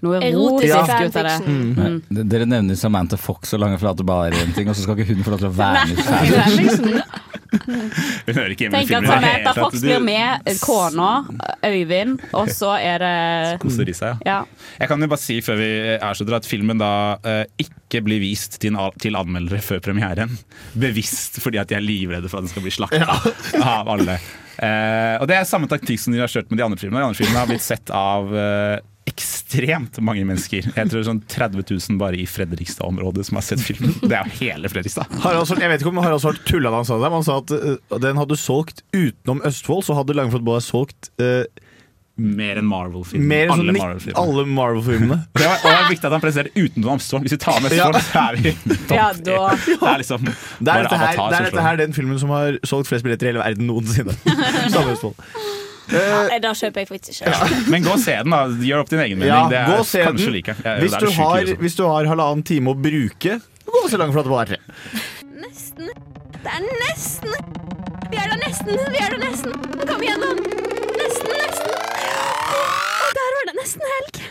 Noe
Erotisk
erotisk ut av det. Mm.
D- Dere nevner Samantha Fox og lange flate baller og en ting, og så skal ikke hun få lov til å være med i
Det er
fan.
liksom-
Hun hører ikke hjemme i
Tenk at
filmen. i [laughs] det
Samantha
hele tatt.
Fox
Du-
blir med, kona, Øyvind, og så er det
Koser i seg,
Ja.
Jeg kan jo bare si før vi avslutter at filmen da eh, ikke blir vist til, en al- til anmeldere før premieren. Bevisst fordi at de er livredde for at den skal bli slakta [laughs] av alle. Eh, og det er samme taktikk som de har kjørt med de andre filmene. De andre filmene har blitt sett av eh, ekstremt mange mennesker. Jeg tror sånn 30 000 bare i Fredrikstad-området som har sett filmen. Det er jo hele Fredrikstad.
Harald Svart, jeg vet ikke om Harald Svart tulla da han sa det, men han sa at eh, den hadde solgt utenom Østfold, så hadde Langflot Boy solgt eh,
Mer enn Marvel-filmer.
mer enn
Alle
sånn nitt-
Marvel-filmer.
alle Marvel-filmene.
Det var, og det er viktig at han presiserer utenom Amsterdam. Hvis vi tar med Amsterdam, så er
[laughs]
vi topp
Ja, da-
tre. Det er liksom
Det er,
bare
dette her, det
Avatar som
er
slår.
dette her den filmen som har solgt flest billetter i hele verden [laughs] noensinne. Samme Østfold.
Nei, eh, da kjøper jeg faktisk [laughs] ikke.
Men gå og se den, da. Gjør opp din egen mening.
Ja,
det er
gå og se
kanskje
den.
like. Ja,
Hvis
det er
du,
det sjuke,
har,
liksom.
hvis du har halvannen time å bruke, gå og se Langflate på R3.
Nesten. Det er nesten. Vi er da nesten. Vi er da nesten. Kom igjennom. Nesten, nesten. Og der var det nesten
eh.
helg.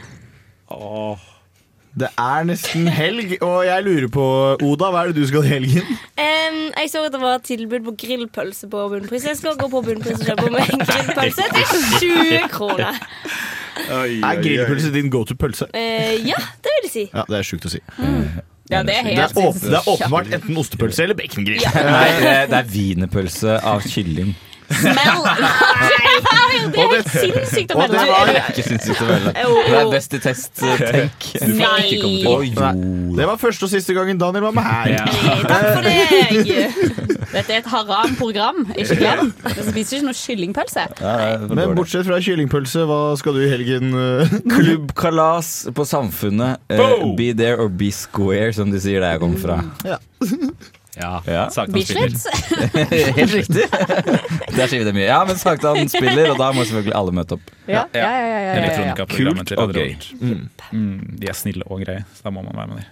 Det er [laughs] nesten helg, og jeg lurer på, Oda, hva er det du skal i helgen?
Em, jeg så at det var tilbud på grillpølse på Bunnpris. Jeg skal gå på Bunnpris og kjøpe meg en grillpølse til 20 kroner.
Er grillpølse din go to pølse?
Eh, ja, det vil jeg si.
Ja, det er sjukt å si.
Ja, det er
Det er, [laughs]
helt
åp det er åpenbart enten ostepølse eller bacongrill. [laughs]
Nei, det er- det er wienerpølse av kylling.
Nei, Det er helt sinnssykt å
Og det
melde.
var ikke sinnssykt å melde.
Jo,
Det er
jo.
best i test, eh, tenk.
Du får Nei. ikke komme tilbake.
Å, jo.
Det var første og siste gangen Daniel var med her.
Takk for deg. Dette er et haram-program. Ikke glem. Vi spiser ikke noe kyllingpølse.
Men bortsett fra kyllingpølse, hva skal du i helgen? eh,
Klubbkalas på Samfunnet. Eh,
Boom!
be there or be square, som de sier der jeg kommer fra.
Mm.
Ja.
Ja, ja.
Bislett.
[laughs] Helt riktig. [laughs] Der sier vi det mye. Ja, men Sagtan spiller, og da må selvfølgelig alle møte opp.
Ja, ja, ja, ja, ja, ja, ja.
Elektronikaprogrammet
Kult
til Radio
og gøy.
Revolt. Mm, de er snille og greie, så da må man være med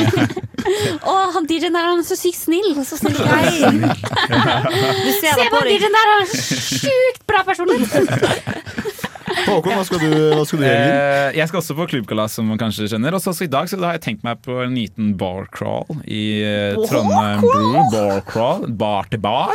der.
Å, han DJ-en der han er så sykt snill. Så snill jeg.
Du ser
Se
det
på
på
han
deg.
DJ-en der, han
[laughs]
er så sjukt bra personlighet.
[laughs] Håkon, hva skal du, hva skal du i helgen?
Eh, jeg skal også på klubbkalas, som man kanskje kjenner. Og så så i dag så da har jeg tenkt meg på en liten bar crawl i eh, Trondheim Bru. Bar crawl. Bar til bar.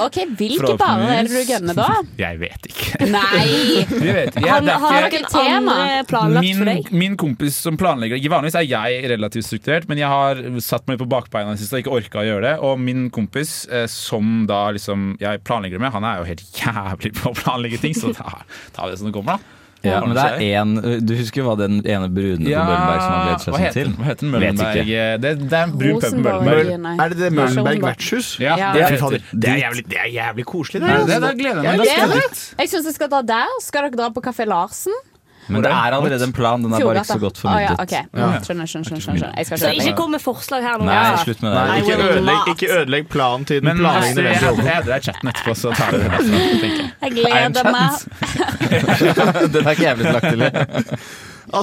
Ok, Hvilke barer er det du gønner da?
[laughs] Jeg vet ikke.
Nei!
Vi vet ikke.
Har,
Det er
har
ikke-
dere andre planlagt for
min,
deg?
min kompis som planlegger ikke Vanligvis er jeg relativt strukturert, men jeg har satt meg på bakbeina i det siste og ikke orka å gjøre det. Og min kompis eh, som da liksom jeg planlegger med, han er jo helt [laughs] jævlig på å planlegge ting, så da tar vi det som det kommer, da.
Ja, men det er én Du husker hva den ene brune på Møllenberg som har gledet seg sånn
hva heter,
til?
den? Hva heter
Vet
den? Møllenberg
ikke.
eh, det, det er en brun pub på
Rosenborg,
Møllenberg.
nei.
Er det det Møllenberg vertshus?
Ja,
Ja.
det,
Fy
er,
fader, det, er jævlig, det er jævlig koselig. Det,
Ja, det- det gleder jeg
Ja,
meg. Da skal jeg dit.
Jeg syns jeg skal dra der. Skal dere dra på Kafé Larsen?
Men det er allerede en plan, den er bare ikke
Fjordgata.
så godt
Å, ja,
formidlet.
ok.
Ja.
Skjønner, skjønner, skjønnner, skjønner. Jeg skal
Så
kjøpe
ikke
den.
kom med forslag her nå.
Nei,
Ja.
slutt med det.
Nei,
I
ikke
[laughs]
will
ødelegg,
not.
ikke ødelegg planen til den
Men jeg,
planleggende
jeg, jeg,
venstre.
jeg, jeg chatten etterpå, så tar vi det derfra. tenker jeg.
Jeg
Er det
gleder
en
meg.
chat?
den er ikke jeg blitt lagt til.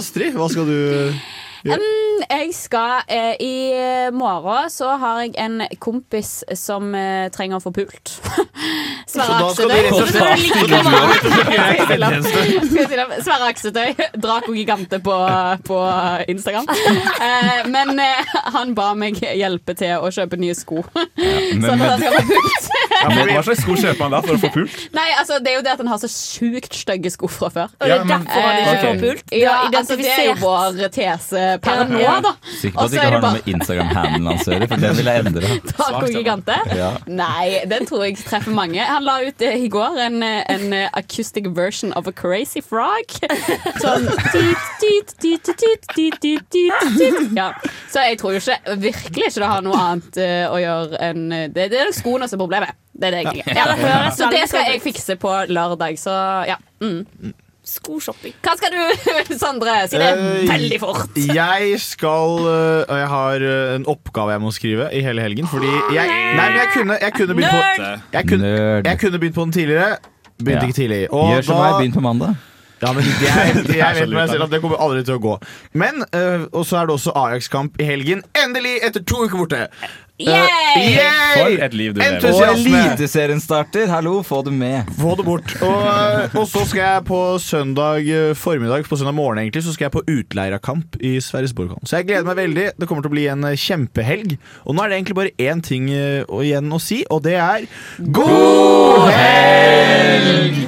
Astrid, hva skal du
Mm, jeg skal eh, I morgen så har jeg en kompis som eh, trenger å få pult. [laughs] Sverre
Så da skal du
Aksetøy.
rett og slett
Ligger på
stille opp.
morgenen.
Jeg er veldig enig.
Skal jeg stille opp? Sverre Aksetøy. Draco Gigante på, på Instagram. Eh, men eh, han ba meg hjelpe til å kjøpe nye sko. [laughs] så
men-
da skal jeg få pult.
Ja, men hva slags sko kjøper man da for å få pult?
Nei, altså Det er jo det at han har så sjukt stygge sko fra før.
Og det er Ja, men- derfor han ikke
Eh,
får pult?
Ja, altså, det er jo vår tese per nå, da.
Sikker på
Og
at det
så er
ikke
det
har noe
bare
med Instagram-handelen hans å gjøre, for den vil jeg endre.
Taco Gigante?
Ja.
Nei, den tror jeg treffer mange. Han la ut eh, i går en, eh, en eh, acoustic version of a crazy frog. Sånn tyt, tyt, tyt, tyt, tyt, tyt, tyt, tyt, tyt. Ja. Så jeg tror jo ikke, virkelig ikke det har noe annet eh, å gjøre enn eh, Det, det er nok skoene som er problemet. Det er det egentlig.
Ja.
Ja. Så det skal jeg fikse på lørdag, så ja. Mm.
Skoshopping.
Hva skal du, [laughs] Sondre? Si det
Eh,
veldig fort.
Jeg skal øh, Og jeg har øh, en oppgave jeg må skrive i hele helgen. Fordi jeg Nei, men jeg kunne, jeg kunne begynt på
Nerd!
jeg kunne, jeg kunne begynt på den tidligere. Begynte
Ja.
ikke tidlig.
Gjør som meg, begynn på mandag.
Ja, men
[laughs]
det er,
Det er
jeg vet
så
med
lurt,
meg selv
da.
at det kommer aldri til å gå. Men, øh, Og så er det også Ajax-kamp i helgen. Endelig, etter to uker borte! Eh, yay!
Og
Entusiasme!
Eliteserien starter, hallo, få det med.
Få det bort. Og, eh, og så skal jeg på søndag eh, formiddag På søndag morgen egentlig Så skal jeg på utleierkamp i Sverresborghallen. Så jeg gleder meg veldig. Det kommer til å bli en eh, kjempehelg. Og nå er det egentlig bare én ting eh, å- igjen å si, og det er God helg!